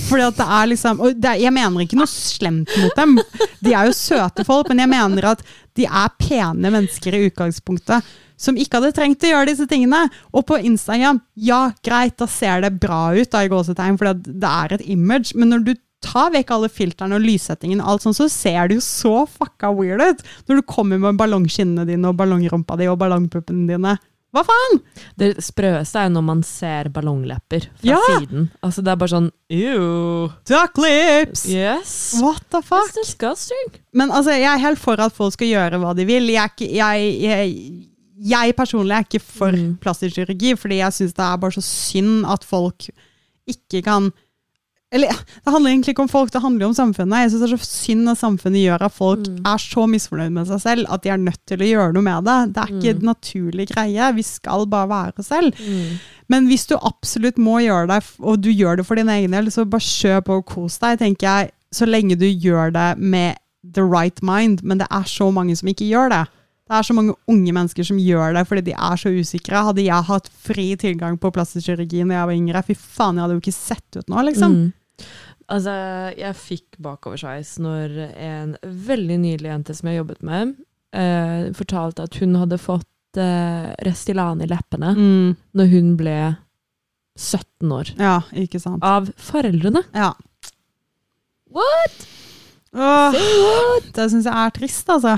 Speaker 2: Fordi at det er liksom Og det, er- jeg mener ikke noe slemt mot dem. De er jo søte folk, men jeg mener at de er pene mennesker i utgangspunktet. Som ikke hadde trengt å gjøre disse tingene. Og på Instagram, ja, greit, da ser det bra ut, da, i gåsetegn, for det er et image. Men når du tar vekk alle filterne og lyssettingen, og alt sånt, så ser det jo så fucka weird ut. Når du kommer med ballongskinnene dine og ballongrumpa di og ballongpuppene dine. Hva faen?
Speaker 1: Det sprøeste er når man ser ballonglepper fra
Speaker 2: Ja!
Speaker 1: siden. Altså, det er bare sånn Ew.
Speaker 2: Duck lips!
Speaker 1: Yes.
Speaker 2: What the fuck?
Speaker 1: That's disgusting.
Speaker 2: Men altså, jeg er helt for at folk skal gjøre hva de vil. Jeg, er ikke, jeg, jeg, jeg personlig er ikke for
Speaker 1: Mm.
Speaker 2: plastisk kirurgi, fordi jeg syns det er bare så synd at folk ikke kan eller, Det handler egentlig ikke om folk, det handler jo om samfunnet. Jeg synes Det er så synd at samfunnet gjør at folk er så misfornøyd med seg selv at de er nødt til å gjøre noe med det. Det er ikke en naturlig greie. Vi skal bare være oss selv.
Speaker 1: Mm.
Speaker 2: Men hvis du absolutt må gjøre det, og du gjør det for din egen del, så bare kjøp og kos deg, tenker jeg. Så lenge du gjør det med the right mind. Men det er så mange som ikke gjør det. Det er så mange unge mennesker som gjør det fordi de er så usikre. Hadde jeg hatt fri tilgang på plastisk kirurgi da jeg var yngre, fy faen, jeg hadde jo ikke sett ut nå, liksom.
Speaker 1: Mm. Altså, jeg fikk bakoversveis når en veldig nydelig jente som jeg jobbet med, eh, fortalte at hun hadde fått eh, Restylane i leppene
Speaker 2: Mm.
Speaker 1: når hun ble 17 år.
Speaker 2: Ja, ikke sant.
Speaker 1: Av foreldrene.
Speaker 2: Ja.
Speaker 1: What?
Speaker 2: Åh,
Speaker 1: Say what?
Speaker 2: det syns jeg er trist, altså.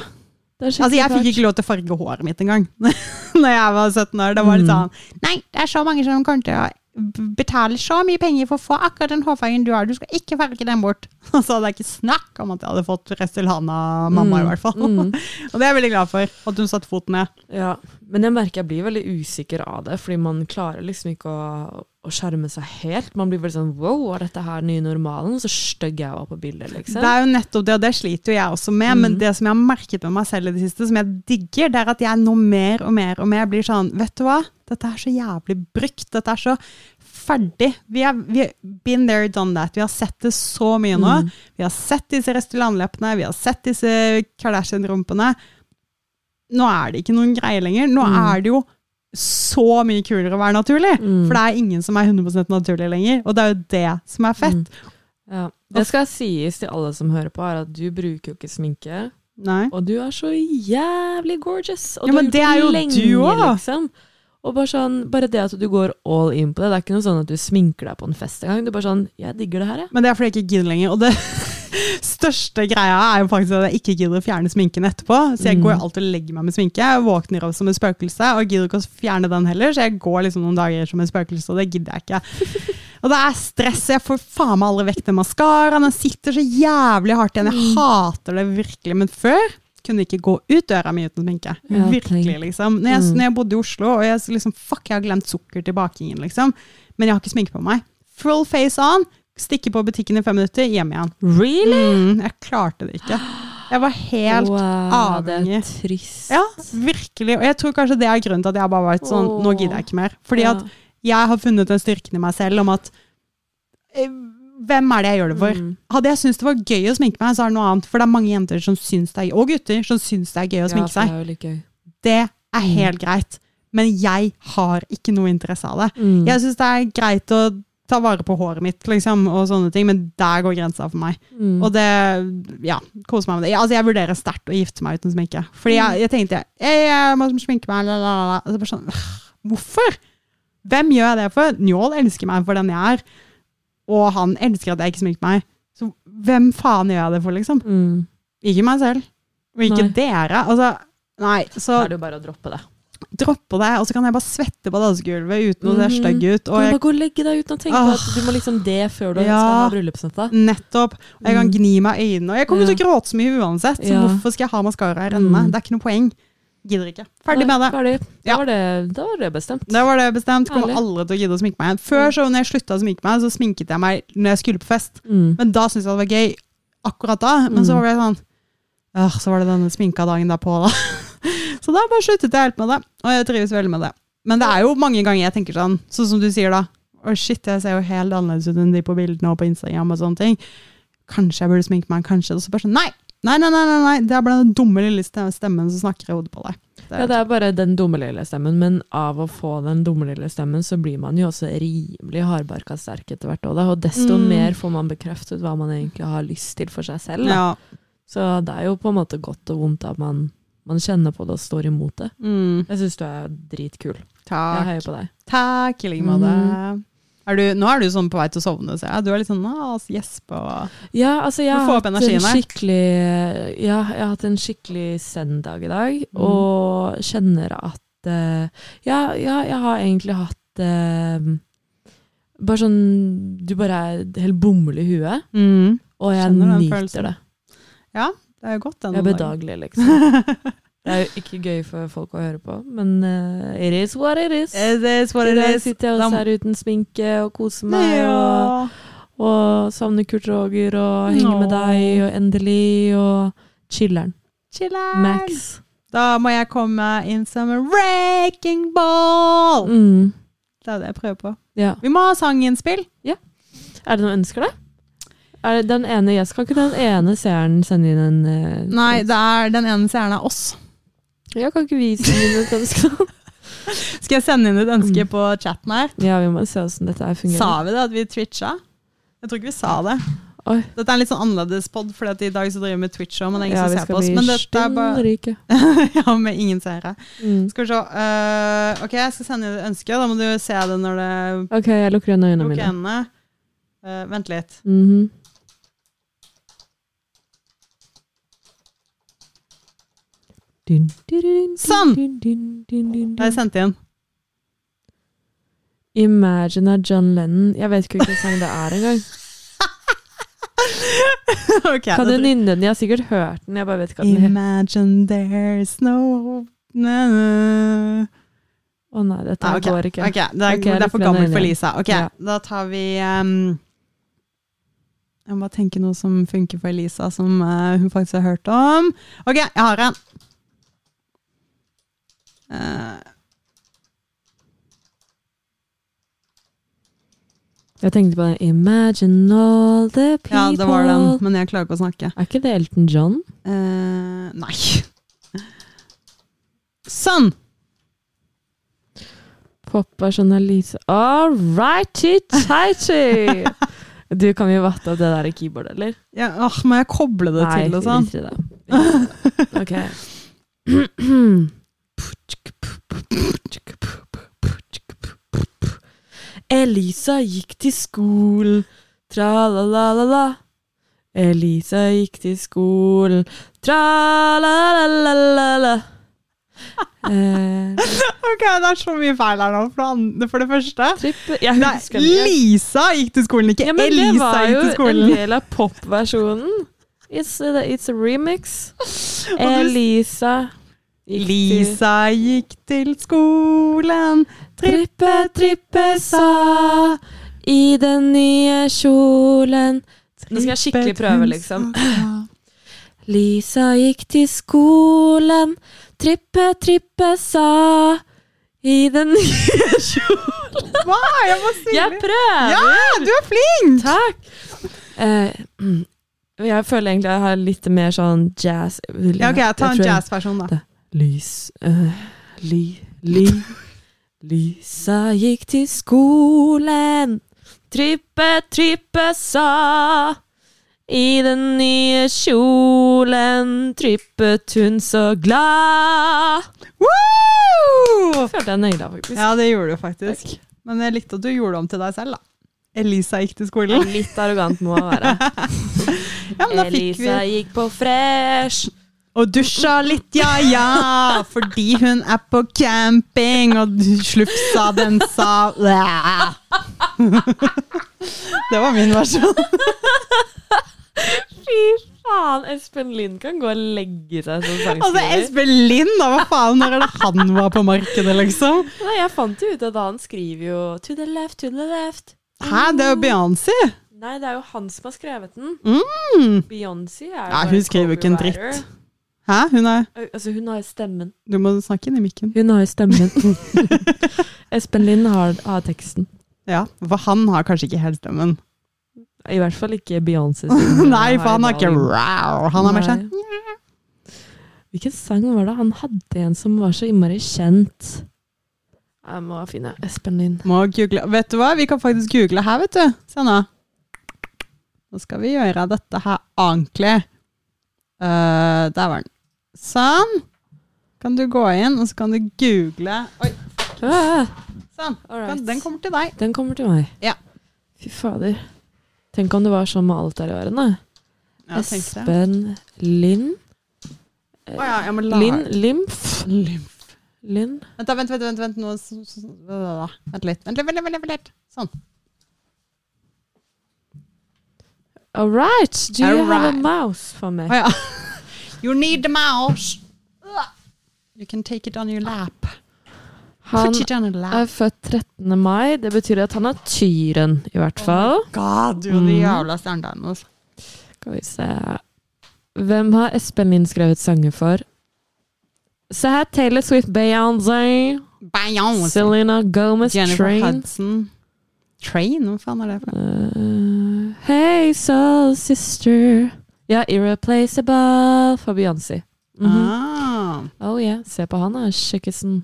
Speaker 1: Det er skikkelig
Speaker 2: Ah. Altså, jeg fikk
Speaker 1: fælt.
Speaker 2: ikke lov til å farge håret mitt engang Når jeg var 17 år. Det var litt
Speaker 1: Mm.
Speaker 2: sånn Nei, det er så mange som kommer til å b- betale så mye penger for å få akkurat den hårfargen du har. Du skal ikke farge den bort. Og så hadde jeg ikke snakk om at jeg hadde fått Restylane av mamma, i hvert fall.
Speaker 1: Mm.
Speaker 2: Og det er jeg veldig glad for, at hun satte foten ned.
Speaker 1: Ja, men jeg merker jeg blir veldig usikker av det, fordi man klarer liksom ikke å, å skjerme seg helt. Man blir veldig sånn wow, er dette her den nye normalen? Så stygg jeg var på bildet, liksom.
Speaker 2: Det er jo nettopp det, og det sliter jo jeg også med.
Speaker 1: Mm.
Speaker 2: Men det som jeg har merket med meg selv i det siste, som jeg digger, det er at jeg nå mer og mer og mer blir sånn Vet du hva? Dette er så jævlig brukt. Dette er så ferdig. Vi har vi har been there, done that. Vi har sett det så mye nå.
Speaker 1: Mm.
Speaker 2: Vi har sett disse Restylane-leppene, vi har sett disse Kardashian-rumpene. nå er det ikke noen greie lenger. Nå
Speaker 1: Mm.
Speaker 2: er det jo så mye kulere å være naturlig.
Speaker 1: Mm.
Speaker 2: For det er ingen som er 100 naturlig lenger, og det er jo det som er
Speaker 1: Mm.
Speaker 2: fett.
Speaker 1: Ja. Det skal sies til alle som hører på, er at du bruker jo ikke sminke.
Speaker 2: Nei.
Speaker 1: Og du er så jævlig gorgeous! Og du
Speaker 2: Ja,
Speaker 1: har
Speaker 2: men
Speaker 1: gjort
Speaker 2: det er jo du også.
Speaker 1: liksom. Og bare, sånn, bare det at du går all in på det. Det er ikke noe sånn at du sminker deg på en fest engang. Du er bare sånn 'Jeg digger det her, jeg'.
Speaker 2: Men det er fordi jeg ikke gidder lenger. Og det største greia er jo faktisk at jeg ikke gidder å fjerne sminken etterpå. Så jeg
Speaker 1: Mm.
Speaker 2: går alltid og legger meg med sminke. Jeg våkner opp som et spøkelse og gidder ikke å fjerne den heller. Så jeg går liksom noen dager som et spøkelse, og det gidder jeg ikke. Og det er stress. Jeg får faen meg aldri vekk den maskaraen. Den sitter så jævlig hardt igjen.
Speaker 1: Mm.
Speaker 2: Jeg hater det virkelig. Men før kunne jeg ikke gå ut døra mi uten sminke.
Speaker 1: Ja,
Speaker 2: Virkelig,
Speaker 1: tenk.
Speaker 2: liksom. Når jeg,
Speaker 1: Mm.
Speaker 2: når jeg bodde i Oslo, og jeg liksom Fuck, jeg har glemt sukker til bakingen, liksom. Men jeg har ikke sminke på meg. Full face on. Stikke på butikken i fem minutter, hjem igjen.
Speaker 1: Really?
Speaker 2: Mm, jeg klarte det ikke. Jeg var helt
Speaker 1: wow, Det
Speaker 2: avhengig.
Speaker 1: er trist.
Speaker 2: Ja, virkelig. Og jeg tror kanskje det er grunnen til at jeg bare har vært sånn, nå gidder jeg ikke mer. Fordi
Speaker 1: Ja.
Speaker 2: at jeg har funnet den styrken i meg selv om at eh, hvem er det jeg gjør det for?
Speaker 1: Mm.
Speaker 2: Hadde jeg syntes det var gøy å sminke meg, så er det noe annet. For det er mange jenter som syns det er, og gutter som syns det er gøy å
Speaker 1: ja,
Speaker 2: sminke
Speaker 1: for
Speaker 2: seg.
Speaker 1: Det er jo litt gøy.
Speaker 2: Det er helt greit. Men jeg har ikke noe interesse av det.
Speaker 1: Mm.
Speaker 2: Jeg syns det er greit å ta vare på håret mitt, liksom, og sånne ting, men der går grensa for meg.
Speaker 1: Mm.
Speaker 2: Og det Ja, kos meg med det. Jeg, altså, jeg vurderer sterkt å gifte meg uten sminke. Fordi
Speaker 1: Mm.
Speaker 2: jeg, jeg tenkte jeg, jeg må sminke meg, la, la, la. Og så bare sånn «Åh, Hvorfor? Hvem gjør jeg det for? Njål elsker meg for den jeg er, og han elsker at jeg ikke sminker meg. Så hvem faen gjør jeg det for, liksom?
Speaker 1: mm.
Speaker 2: Ikke meg selv. Og ikke
Speaker 1: Nei.
Speaker 2: dere. Altså, nei. Så
Speaker 1: Da er det jo bare å droppe det.
Speaker 2: droppe det, og så kan jeg bare svette på dansegulvet uten å se
Speaker 1: Mhm.
Speaker 2: stygg ut.
Speaker 1: Du
Speaker 2: Og
Speaker 1: må
Speaker 2: jeg,
Speaker 1: bare gå og legge deg uten å tenke på at du må liksom det før du skal
Speaker 2: Ja.
Speaker 1: ha bryllupsnatta.
Speaker 2: nettopp. Og jeg kan
Speaker 1: Mm.
Speaker 2: gni meg i øynene. Og jeg
Speaker 1: Ja.
Speaker 2: kommer til å gråte så mye uansett, så
Speaker 1: Ja.
Speaker 2: hvorfor skal jeg ha maskara i rennene?
Speaker 1: Mm.
Speaker 2: Det er ikke noe poeng. Gidder ikke. Ferdig med
Speaker 1: Nei,
Speaker 2: det.
Speaker 1: Ferdig. Da,
Speaker 2: Ja.
Speaker 1: var det, da var det bestemt.
Speaker 2: Det var det bestemt. Kommer
Speaker 1: Herlig.
Speaker 2: aldri til å gidde å sminke meg igjen. Før, så når jeg slutta å sminke meg, så sminket jeg meg når jeg skulle på fest.
Speaker 1: Mm.
Speaker 2: Men da syntes jeg det var gøy akkurat da. Men så
Speaker 1: Mm.
Speaker 2: var det sånn «Åh, Så var det denne sminka dagen derpå, da. så da bare sluttet jeg helt med det. Og jeg trives veldig med det. Men det er jo mange ganger jeg tenker sånn, sånn som du sier da. Å shit, jeg ser jo helt annerledes ut enn de på bildene og på Instagram og sånne ting. Kanskje jeg burde sminke meg, kanskje. Og så bare sånn nei! Nei, nei, nei, nei, nei. Det er bare den dumme lille ste- stemmen som snakker i hodet på deg. Det
Speaker 1: Ja, det er bare den dumme lille stemmen, men av å få den dumme lille stemmen, så blir man jo også rimelig hardbarka sterk etter hvert. Og, og desto
Speaker 2: Mm.
Speaker 1: mer får man bekreftet hva man egentlig har lyst til for seg selv. Da.
Speaker 2: ja.
Speaker 1: Så det er jo på en måte godt og vondt at man, man kjenner på det og står imot det.
Speaker 2: Mm.
Speaker 1: Jeg syns du er dritkul. Jeg
Speaker 2: Takk.
Speaker 1: heier på deg.
Speaker 2: Takk, i like måte.
Speaker 1: Mm.
Speaker 2: Er du, nå er du sånn på vei til å sovne, ser jeg. Du er litt sånn ah, gjespe og
Speaker 1: Ja, altså jeg
Speaker 2: Du
Speaker 1: har
Speaker 2: får opp
Speaker 1: hatt en
Speaker 2: energien her.
Speaker 1: skikkelig Ja, jeg har hatt en skikkelig send-dag i dag,
Speaker 2: Mm.
Speaker 1: og kjenner at eh, ja, ja, jeg har egentlig hatt eh, Bare sånn Du bare er helt bomull i huet, og jeg
Speaker 2: Skjønner den
Speaker 1: nyter
Speaker 2: følelsen.
Speaker 1: det.
Speaker 2: Det er jo godt,
Speaker 1: Jeg er
Speaker 2: den.
Speaker 1: bedagelig, liksom. Det er jo ikke gøy for folk å høre på, men eh, it is what it is.
Speaker 2: It is what
Speaker 1: I
Speaker 2: it
Speaker 1: dag
Speaker 2: is.
Speaker 1: sitter jeg
Speaker 2: Da-
Speaker 1: også her uten sminke og koser meg. og
Speaker 2: Ja.
Speaker 1: Og savner Kurt Roger og henge med
Speaker 2: Åh.
Speaker 1: deg og endelig og chiller'n.
Speaker 2: Chiller'n.
Speaker 1: Max.
Speaker 2: Da må jeg komme inn som en wrecking ball!
Speaker 1: Mm.
Speaker 2: Det er det jeg prøver på.
Speaker 1: Ja.
Speaker 2: Vi må ha sanginnspill.
Speaker 1: Er det noen ønsker deg? Er det den ene, jeg skal ikke den ene seeren sende inn en eh,
Speaker 2: Nei, det er den ene seeren er oss.
Speaker 1: Ja, kan ikke vi sende inn et ønske?
Speaker 2: Skal jeg sende inn et ønske på chatten her?
Speaker 1: ja, vi må se åssen dette her
Speaker 2: Sa
Speaker 1: Mm. fungerer.
Speaker 2: vi det at vi twitcha? Jeg tror ikke vi sa det.
Speaker 1: Oi.
Speaker 2: Dette er en litt sånn annerledes pod, for i dag så driver vi med Twitch òg, men det er ingen
Speaker 1: Ja,
Speaker 2: som
Speaker 1: vi
Speaker 2: ser
Speaker 1: skal
Speaker 2: på oss.
Speaker 1: bli
Speaker 2: Men dette er bare
Speaker 1: stinnrike.
Speaker 2: Ja, med ingen seere.
Speaker 1: Mm.
Speaker 2: Skal vi se. eh, ok, jeg skal sende inn et ønske, og da må du se det når det
Speaker 1: Ok, jeg lukker igjen øynene
Speaker 2: lukker
Speaker 1: mine.
Speaker 2: øynene. Eh, vent litt.
Speaker 1: Mhm. Dun, dun, dun,
Speaker 2: Sånn!
Speaker 1: dun, dun, dun, dun,
Speaker 2: Da
Speaker 1: dun.
Speaker 2: har jeg sendt inn.
Speaker 1: Imagine av John Lennon. Jeg vet ikke hvilken sang det er engang.
Speaker 2: Ok, da
Speaker 1: Kan du
Speaker 2: trykker-
Speaker 1: nynne den? Jeg har sikkert hørt den, jeg bare vet ikke hva den heter.
Speaker 2: Imagine there's no na, na.
Speaker 1: Å nei, dette
Speaker 2: Nei,
Speaker 1: her
Speaker 2: Ah, ok.
Speaker 1: går ikke.
Speaker 2: Ok, det er,
Speaker 1: Ok,
Speaker 2: det er for
Speaker 1: lukk den
Speaker 2: gammelt
Speaker 1: øynene.
Speaker 2: for Lisa. Ok,
Speaker 1: Ja.
Speaker 2: da tar vi ehm, Jeg må bare tenke noe som funker for Lisa, som eh, hun faktisk har hørt om. Ok, jeg har en. Eh,
Speaker 1: Jeg tenkte på den Imagine all the people.
Speaker 2: ja, det var den, men jeg klarer ikke å snakke.
Speaker 1: Eh, Er ikke det Elton John?
Speaker 2: Eh, nei. Sånn!
Speaker 1: Poppa journalise. sånn All righty, tighty! Du, kan vi vatte opp det der i keyboard, eller?
Speaker 2: Ja, åh, må jeg koble det
Speaker 1: Nei,
Speaker 2: til og sånn?
Speaker 1: drit i det. Drit i det. Ok. Elisa gikk til skolen, tra-la-la-la-la. Elisa gikk til skolen, tra-la-la-la-la. Eh,
Speaker 2: Ok, det er så mye feil her nå. For det, andre, for det første
Speaker 1: trippe Jeg
Speaker 2: Nei,
Speaker 1: husker det ikke.
Speaker 2: Lisa gikk til skolen, ikke
Speaker 1: Ja, men det
Speaker 2: Elisa
Speaker 1: var jo
Speaker 2: gikk
Speaker 1: en
Speaker 2: til skolen.
Speaker 1: del av popversjonen. It's, a- it's a remix.
Speaker 2: Og du,
Speaker 1: Elisa gikk til
Speaker 2: Lisa gikk til skolen.
Speaker 1: Trippe, trippe, sa i den nye kjolen. Nå skal jeg skikkelig prøve, liksom. Lisa gikk til skolen. Trippe, trippe, sa i den nye kjolen.
Speaker 2: Hva? Jeg må synge.
Speaker 1: Jeg prøver!
Speaker 2: Ja, du er flink!
Speaker 1: Takk! Eh, mm. jeg føler egentlig jeg har litt mer sånn jazz
Speaker 2: Ja, ok, ta
Speaker 1: tror
Speaker 2: en
Speaker 1: jeg-
Speaker 2: jazzversjon, da.
Speaker 1: Lys eh, Ly... Ly... Lysa gikk til skolen. Trippe, trippe, sa. I den nye kjolen trippet hun så glad.
Speaker 2: Woo!
Speaker 1: Følte jeg nøyla, faktisk.
Speaker 2: Ja, det gjorde du faktisk. Men jeg likte at du gjorde det om til deg selv, da. Elisa gikk til skolen.
Speaker 1: Litt arrogant må jeg være.
Speaker 2: Ja, men da fikk vi
Speaker 1: Elisa gikk på fresh.
Speaker 2: Og dusja litt, ja ja, fordi hun er på camping, og slufsa den sa Blæ. Det var min versjon.
Speaker 1: Fy faen, Espen Lind kan gå og legge seg som
Speaker 2: Altså,
Speaker 1: sangskriver.
Speaker 2: Espen Lind, da, hva faen, når er det han var på markedet, liksom?
Speaker 1: Nei, jeg fant jo ut at han skriver jo To the left, to the left.
Speaker 2: Hæ, det er jo Beyoncé!
Speaker 1: Nei, det er jo han som har skrevet den.
Speaker 2: Mm.
Speaker 1: Beyoncé er jo
Speaker 2: Ja,
Speaker 1: bare
Speaker 2: hun skriver jo ikke en dritt.
Speaker 1: copywriter.
Speaker 2: Hæ, hun er
Speaker 1: Al- Altså, hun har jo stemmen.
Speaker 2: Du må snakke inn i mikken.
Speaker 1: Hun har jo stemmen. Espen Lind har, har teksten.
Speaker 2: Ja, for han har kanskje ikke helt stemmen.
Speaker 1: I hvert fall ikke Beyoncé.
Speaker 2: Nei, for han har ikke rau. Han har mer sånn
Speaker 1: Hvilken sang var det? Han hadde en som var så innmari kjent. Jeg må finne Espen Lind.
Speaker 2: Må google. Vet du hva? Vi kan faktisk google her, vet du. Se nå. Nå skal vi gjøre dette her ordentlig. Eh, der var den. Sånn. Kan du gå inn, og så kan du google. Oi,
Speaker 1: Ah,
Speaker 2: sånn.
Speaker 1: alright.
Speaker 2: Kan- Den kommer til deg.
Speaker 1: Den kommer til meg.
Speaker 2: Ja.
Speaker 1: Fy fader. Tenk om det var sånn med alt her i verden, da.
Speaker 2: Ja, tenkte jeg.
Speaker 1: Espen Lind.
Speaker 2: Å ja, jeg må la
Speaker 1: Linn Lymf.
Speaker 2: Lymf.
Speaker 1: Linn.
Speaker 2: Vent, da, vent, vent, vent, vent. Nå, så, så, så, vent litt. Vent litt, vent litt, vent litt, vent litt. Sånn.
Speaker 1: All right. Do you
Speaker 2: All
Speaker 1: have a
Speaker 2: right.
Speaker 1: mouse for
Speaker 2: Å
Speaker 1: meg?
Speaker 2: ja. You need the mouse. You can take it on your lap.
Speaker 1: Han
Speaker 2: Put it on your lap.
Speaker 1: er født 13. mai. Det betyr at han er tyren, i hvert fall.
Speaker 2: God, du er
Speaker 1: Mhm.
Speaker 2: de jævla stjernene. altså.
Speaker 1: Skal vi se Hvem har Espen Lind skrevet sanger for? Se her. Taylor Swift, Beyoncé,
Speaker 2: Beyoncé.
Speaker 1: Selena Gomez,
Speaker 2: altså. Jennifer
Speaker 1: Train.
Speaker 2: Hudson. Train? Hva faen er det for noe?
Speaker 1: Uh, hey, soul sister. Ja, Irreplaceable for Beyoncé. Mhm.
Speaker 2: ah,
Speaker 1: Oh yeah. Se på han da, kjekkesen.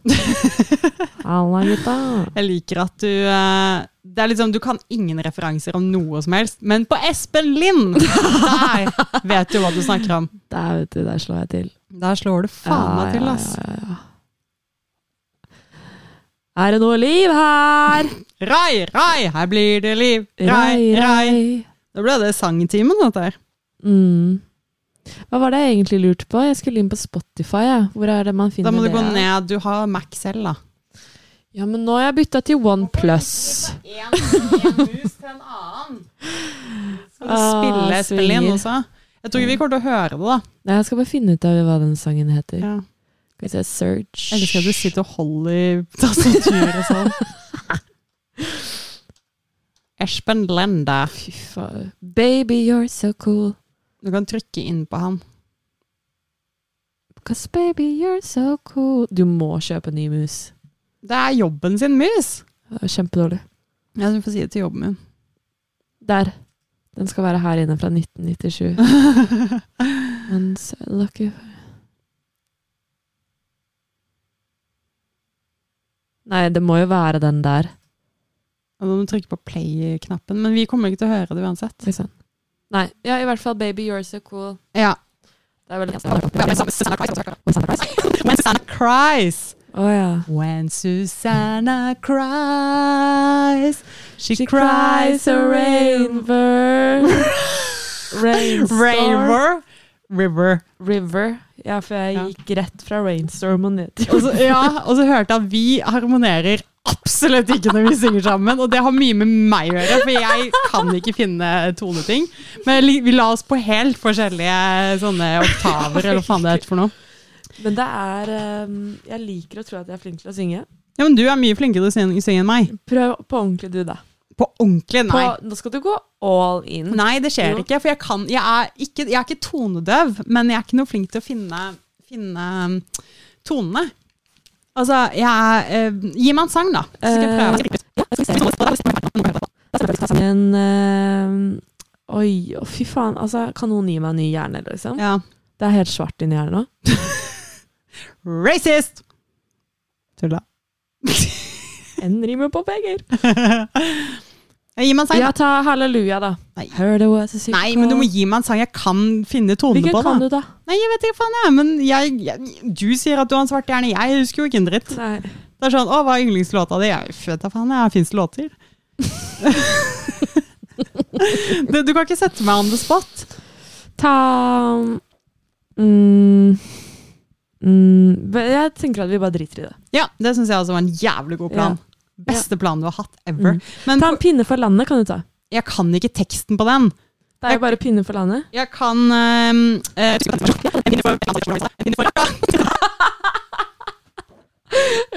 Speaker 1: Halla, gutta.
Speaker 2: jeg liker at du eh, Det er liksom, Du kan ingen referanser om noe som helst, men på Espen Lind! Der vet du hva du snakker om.
Speaker 1: Der, vet du, der slår jeg til.
Speaker 2: Der slår du faen meg til, ass.
Speaker 1: Ja, ja, ja. Er det noe liv her?
Speaker 2: Rai, rai, her blir det liv. Rai, rai. Da ble det sangtimen, dette her.
Speaker 1: Mm. Hva var det jeg egentlig lurte på? Jeg skulle inn på Spotify. Jeg. Hvor er det man
Speaker 2: Da
Speaker 1: finner
Speaker 2: må du
Speaker 1: det?
Speaker 2: gå ned. Du har Mac selv, da.
Speaker 1: Ja, men nå har jeg bytta til OnePlus.
Speaker 2: En, mus til en annen. Skal du
Speaker 1: Ah,
Speaker 2: spille Espen Lind
Speaker 1: svinger.
Speaker 2: også? Jeg tror ikke vi kommer til å høre det, da.
Speaker 1: Nei, jeg skal bare finne ut av hva den sangen heter.
Speaker 2: Ja.
Speaker 1: Skal vi se, Search
Speaker 2: Jeg elsker at du sitter og holder i tastaturet og sånn. Espen Lenda.
Speaker 1: Fy faen. Baby, you're so cool.
Speaker 2: Du kan trykke inn på han.
Speaker 1: Cause baby, you're so cool. Du må kjøpe ny mus.
Speaker 2: Det er jobben sin, mus!
Speaker 1: Det er Kjempedårlig.
Speaker 2: Ja, du får si det til jobben min.
Speaker 1: Der. Den skal være her inne fra 1997. And so lucky. Nei, det må jo være den der.
Speaker 2: Og da må du trykke på play-knappen, men vi kommer ikke til å høre det uansett.
Speaker 1: Liksom. Nei, ja, i hvert fall Baby You're So Cool.
Speaker 2: Ja.
Speaker 1: Det er vel
Speaker 2: When Susanna cries.
Speaker 1: Å ja.
Speaker 2: When Susanna cries, she,
Speaker 1: She cries a rainbow. Rainstorm.
Speaker 2: Rainbow. River.
Speaker 1: River. Ja, for jeg
Speaker 2: Ja.
Speaker 1: gikk rett fra rainstorm og ned til
Speaker 2: Og så, ja, og så hørte jeg at vi harmonerer absolutt ikke når vi synger sammen. Og det har mye med meg å gjøre, for jeg kan ikke finne toneting. Men li- vi la oss på helt forskjellige sånne oktaver, eller hva faen det heter for noe.
Speaker 1: Men det er ehm, Jeg liker å tro at jeg er flink til å synge.
Speaker 2: Ja, men du er mye flinkere til å synge synge enn meg.
Speaker 1: Prøv på ordentlig, du, da.
Speaker 2: På ordentlig,
Speaker 1: På,
Speaker 2: nei.
Speaker 1: nå skal du gå all in.
Speaker 2: Nei, det skjer
Speaker 1: Jo.
Speaker 2: ikke, for jeg, kan, jeg, er ikke, jeg er ikke tonedøv, men jeg er ikke noe flink til å finne, finne um, tonene. Altså, jeg er eh, Gi meg en sang, da. Så skal jeg prøve.
Speaker 1: Men ehm, Oi, å, fy faen. Altså, kan noen gi meg en ny hjerne, liksom?
Speaker 2: Ja.
Speaker 1: Det er helt svart inni hjernen nå.
Speaker 2: Racist! Tulla.
Speaker 1: En rimer på penger.
Speaker 2: Gi meg en sang,
Speaker 1: Ja, ta halleluja, da.
Speaker 2: Nei.
Speaker 1: Heard it was a
Speaker 2: da.
Speaker 1: sick
Speaker 2: Nei, men du må
Speaker 1: call.
Speaker 2: gi meg en sang jeg kan finne tonen
Speaker 1: Hvilken
Speaker 2: på.
Speaker 1: kan
Speaker 2: da.
Speaker 1: du, da?
Speaker 2: Nei, jeg vet ikke faen jeg, men jeg, jeg, du sier at du har en svart hjerne. Jeg husker jo ikke en dritt.
Speaker 1: Nei.
Speaker 2: Det er sånn, å, hva er yndlingslåta di? Jeg vet da faen, jeg finnes det låter. det, du kan ikke sette meg on the spot.
Speaker 1: Ta mm, mm, be- Jeg tenker at vi bare driter i det.
Speaker 2: Ja, det syns jeg også var en jævlig god plan. Beste plan du har hatt ever.
Speaker 1: Mm.
Speaker 2: Men
Speaker 1: Ta en pinne for landet, kan du ta.
Speaker 2: jeg kan ikke teksten på den.
Speaker 1: Det er jo bare pinne for landet.
Speaker 2: Jeg kan ehm, eh,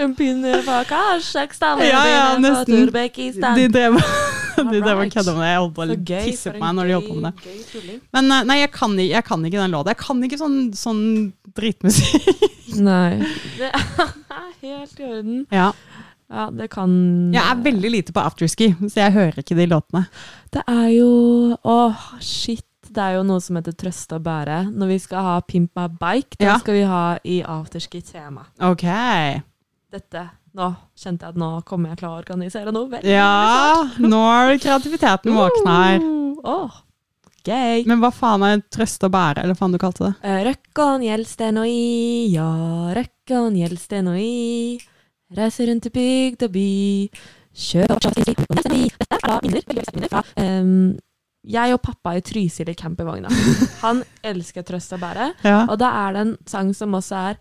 Speaker 1: En pinne for Kasjokstan.
Speaker 2: Ja, ja, nesten. De
Speaker 1: Turbekkistan.
Speaker 2: drev de
Speaker 1: All
Speaker 2: drev og
Speaker 1: right.
Speaker 2: kødda med det. Jeg holdt på å
Speaker 1: Så gøy,
Speaker 2: tisse
Speaker 1: for
Speaker 2: på
Speaker 1: en
Speaker 2: meg når de holdt på
Speaker 1: gøy-
Speaker 2: med det.
Speaker 1: gøy tulling.
Speaker 2: Men eh, nei, jeg kan, ikke- jeg kan ikke den låta. Jeg kan ikke sånn, sånn dritmusikk.
Speaker 1: Nei. Det er helt i orden.
Speaker 2: Ja.
Speaker 1: Ja, det kan
Speaker 2: Jeg er veldig lite på afterski, så jeg hører ikke de låtene.
Speaker 1: Det er jo Åh, shit. Det er jo noe som heter Trøste og bære. Når vi skal ha Pimp my bike, da
Speaker 2: Ja.
Speaker 1: skal vi ha i afterski-tema.
Speaker 2: Ok.
Speaker 1: Dette. Nå kjente jeg at nå kommer jeg til å organisere noe. Veldig
Speaker 2: Ja, nå er kreativiteten våkna
Speaker 1: Mm.
Speaker 2: her.
Speaker 1: Åh, gøy.
Speaker 2: Men hva faen er trøste og bære, eller faen du kalte det?
Speaker 1: Eh, Røkkan gjeldsten og i, ja, røkkan gjeldsten og i. Reiser rundt i bygd og by. Kjør og kjør og nesten i. Dette er fra minner, veldig sterke minner fra ehm, jeg og pappa i Trysil i campingvogna. Han elsker Trøst og bære.
Speaker 2: Ja.
Speaker 1: Og da er det en sang som også er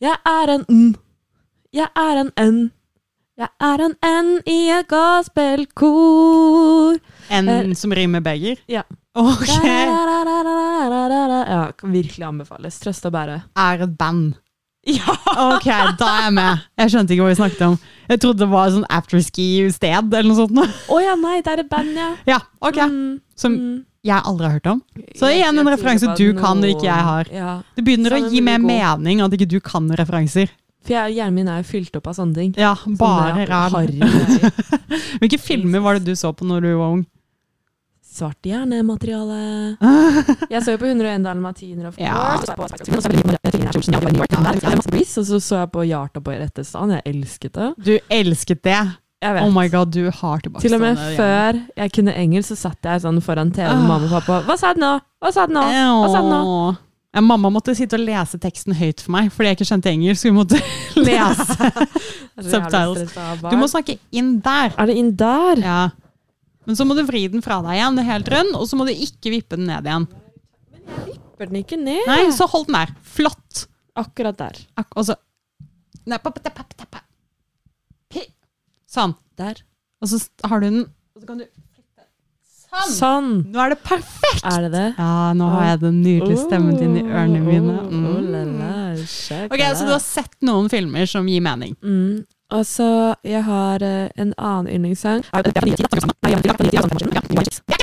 Speaker 1: Jeg er en n. Jeg er en n. Jeg er en n i et gospelkor.
Speaker 2: En som rimer begger?
Speaker 1: Eh, Ja.
Speaker 2: Ok.
Speaker 1: Da-da-da-da-da-da-da. Ja, kan virkelig anbefales. Trøst og bære.
Speaker 2: Er et band.
Speaker 1: Ja!
Speaker 2: Ok, da er jeg med. Jeg skjønte ikke hva vi snakket om. Jeg trodde det var et sånn afterski-sted eller noe sånt. nå.
Speaker 1: Å ja, nei, det er et band, ja.
Speaker 2: Ja, ok.
Speaker 1: Mm,
Speaker 2: Som
Speaker 1: mm.
Speaker 2: jeg aldri har hørt om. Så
Speaker 1: Jeg-
Speaker 2: igjen en
Speaker 1: jeg tror
Speaker 2: referanse
Speaker 1: det var
Speaker 2: du kan, og ikke jeg har.
Speaker 1: Ja.
Speaker 2: Det begynner å
Speaker 1: Sangen
Speaker 2: gi
Speaker 1: blir
Speaker 2: mer
Speaker 1: god.
Speaker 2: mening at ikke du kan referanser.
Speaker 1: For jeg, hjernen min er jo fylt opp av sånne ting.
Speaker 2: Ja, bare
Speaker 1: Sånne Sånn
Speaker 2: ræl.
Speaker 1: harry greier.
Speaker 2: Hvilke filmer var det du så på når du var ung?
Speaker 1: Svart hjerne-materiale. Jeg så jo på 101 dalmatiner, of
Speaker 2: Ja.
Speaker 1: course. Og så på Spice Girls, og så veldig mye med Trine Kjolsen, ja, det var New York, det var der, det var masse pris, Og så så jeg på Hjarta på Rettestad. Jeg elsket det.
Speaker 2: Du elsket det.
Speaker 1: Jeg vet.
Speaker 2: Oh my god, du har tilbake
Speaker 1: Til og med før jeg kunne engelsk, så satt jeg sånn foran TV med mamma og pappa. Hva sa den nå? Hva sa den nå? Hva sa den nå?
Speaker 2: Eh, Ja, mamma måtte sitte og lese teksten høyt for meg, fordi jeg ikke skjønte engelsk. så Hun måtte lese. Subtitles. Du må
Speaker 1: må...
Speaker 2: snakke inn der.
Speaker 1: Er det inn der?
Speaker 2: Ja. Men så må du vri den fra deg igjen, helt rund, og så må du ikke vippe den ned igjen.
Speaker 1: Bør den ikke ned?
Speaker 2: Nei, så hold den der. Flott.
Speaker 1: Akkurat der.
Speaker 2: Ak og så Nei, pa- pa- pa- pa- pa. Pi. Sånn.
Speaker 1: Der.
Speaker 2: Og så s- har du den, og så kan du Sånn!
Speaker 1: Sånn.
Speaker 2: Nå er det perfekt!
Speaker 1: Er det det?
Speaker 2: Ja, nå har jeg den nydelige stemmen din i ørene mine. Mm. Ok, Så du har sett noen filmer som gir mening?
Speaker 1: Mm. Og så, jeg har eh, en annen yndlingssang.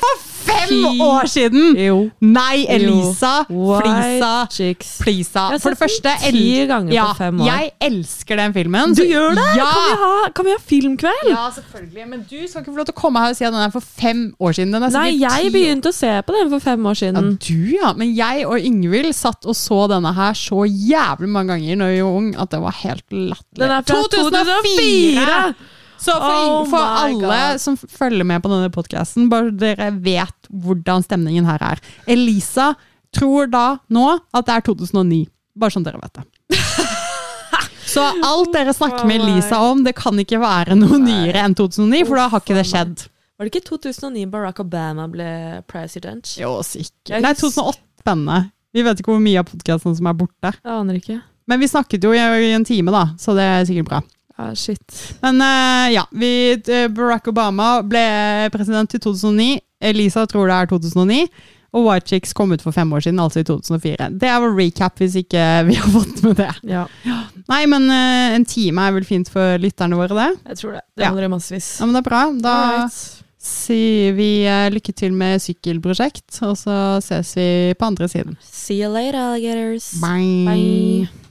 Speaker 2: For fem
Speaker 1: Ti.
Speaker 2: år siden!
Speaker 1: Jo.
Speaker 2: Nei, Elisa!
Speaker 1: Why
Speaker 2: Flisa!
Speaker 1: Chicks.
Speaker 2: Flisa.
Speaker 1: Jeg har
Speaker 2: For det
Speaker 1: sett
Speaker 2: første
Speaker 1: den
Speaker 2: el-
Speaker 1: ti ganger på
Speaker 2: ja,
Speaker 1: fem år.
Speaker 2: Jeg elsker den filmen.
Speaker 1: Du gjør det?
Speaker 2: Ja!
Speaker 1: Kan, vi ha, kan vi ha filmkveld?
Speaker 2: Ja, selvfølgelig. Men du skal ikke få lov til å komme her og si at den er for fem år siden. Den altså, er
Speaker 1: Nei,
Speaker 2: sikkert
Speaker 1: jeg
Speaker 2: ti
Speaker 1: begynte å se på den for fem år
Speaker 2: Ja,
Speaker 1: siden.
Speaker 2: du ja. Men jeg og Ingvild satt og så denne her så jævlig mange ganger når vi var ung at det var helt latterlig.
Speaker 1: Den er fra
Speaker 2: 2005!
Speaker 1: det var fire!
Speaker 2: Så for,
Speaker 1: Oh
Speaker 2: for
Speaker 1: my
Speaker 2: alle
Speaker 1: God.
Speaker 2: som følger med på denne podkasten, bare dere vet hvordan stemningen her er. Elisa tror da nå at det er 2009. Bare sånn dere vet det. Så alt dere snakker med Elisa om, det kan ikke være noe nyere enn 2009, for da har ikke det skjedd.
Speaker 1: Var det ikke 2009 Barack Obama ble president?
Speaker 2: Jo, sikkert.
Speaker 1: Jeg
Speaker 2: Nei,
Speaker 1: husker-
Speaker 2: 2008. Spennende. Vi vet ikke hvor mye av podkasten som er borte.
Speaker 1: Jeg aner ikke.
Speaker 2: Men vi snakket jo i i en time, da, så det er sikkert bra.
Speaker 1: Ah, shit.
Speaker 2: Men eh, ja, vi, eh, Barack Obama ble president i 2009. Elisa tror det er 2009. Og White Chicks kom ut for fem år siden, altså i 2004. Det er vår recap hvis ikke vi har fått med det.
Speaker 1: Ja,
Speaker 2: Nei, men eh, en time er vel fint for lytterne våre, det?
Speaker 1: jeg tror det.
Speaker 2: Ja.
Speaker 1: Det holder i massevis.
Speaker 2: Ja, men det er bra. Da
Speaker 1: Alright.
Speaker 2: sier vi eh, lykke til med sykkelprosjekt, og så ses vi på andre siden.
Speaker 1: See you later, alligators.
Speaker 2: Bye.
Speaker 1: Bye.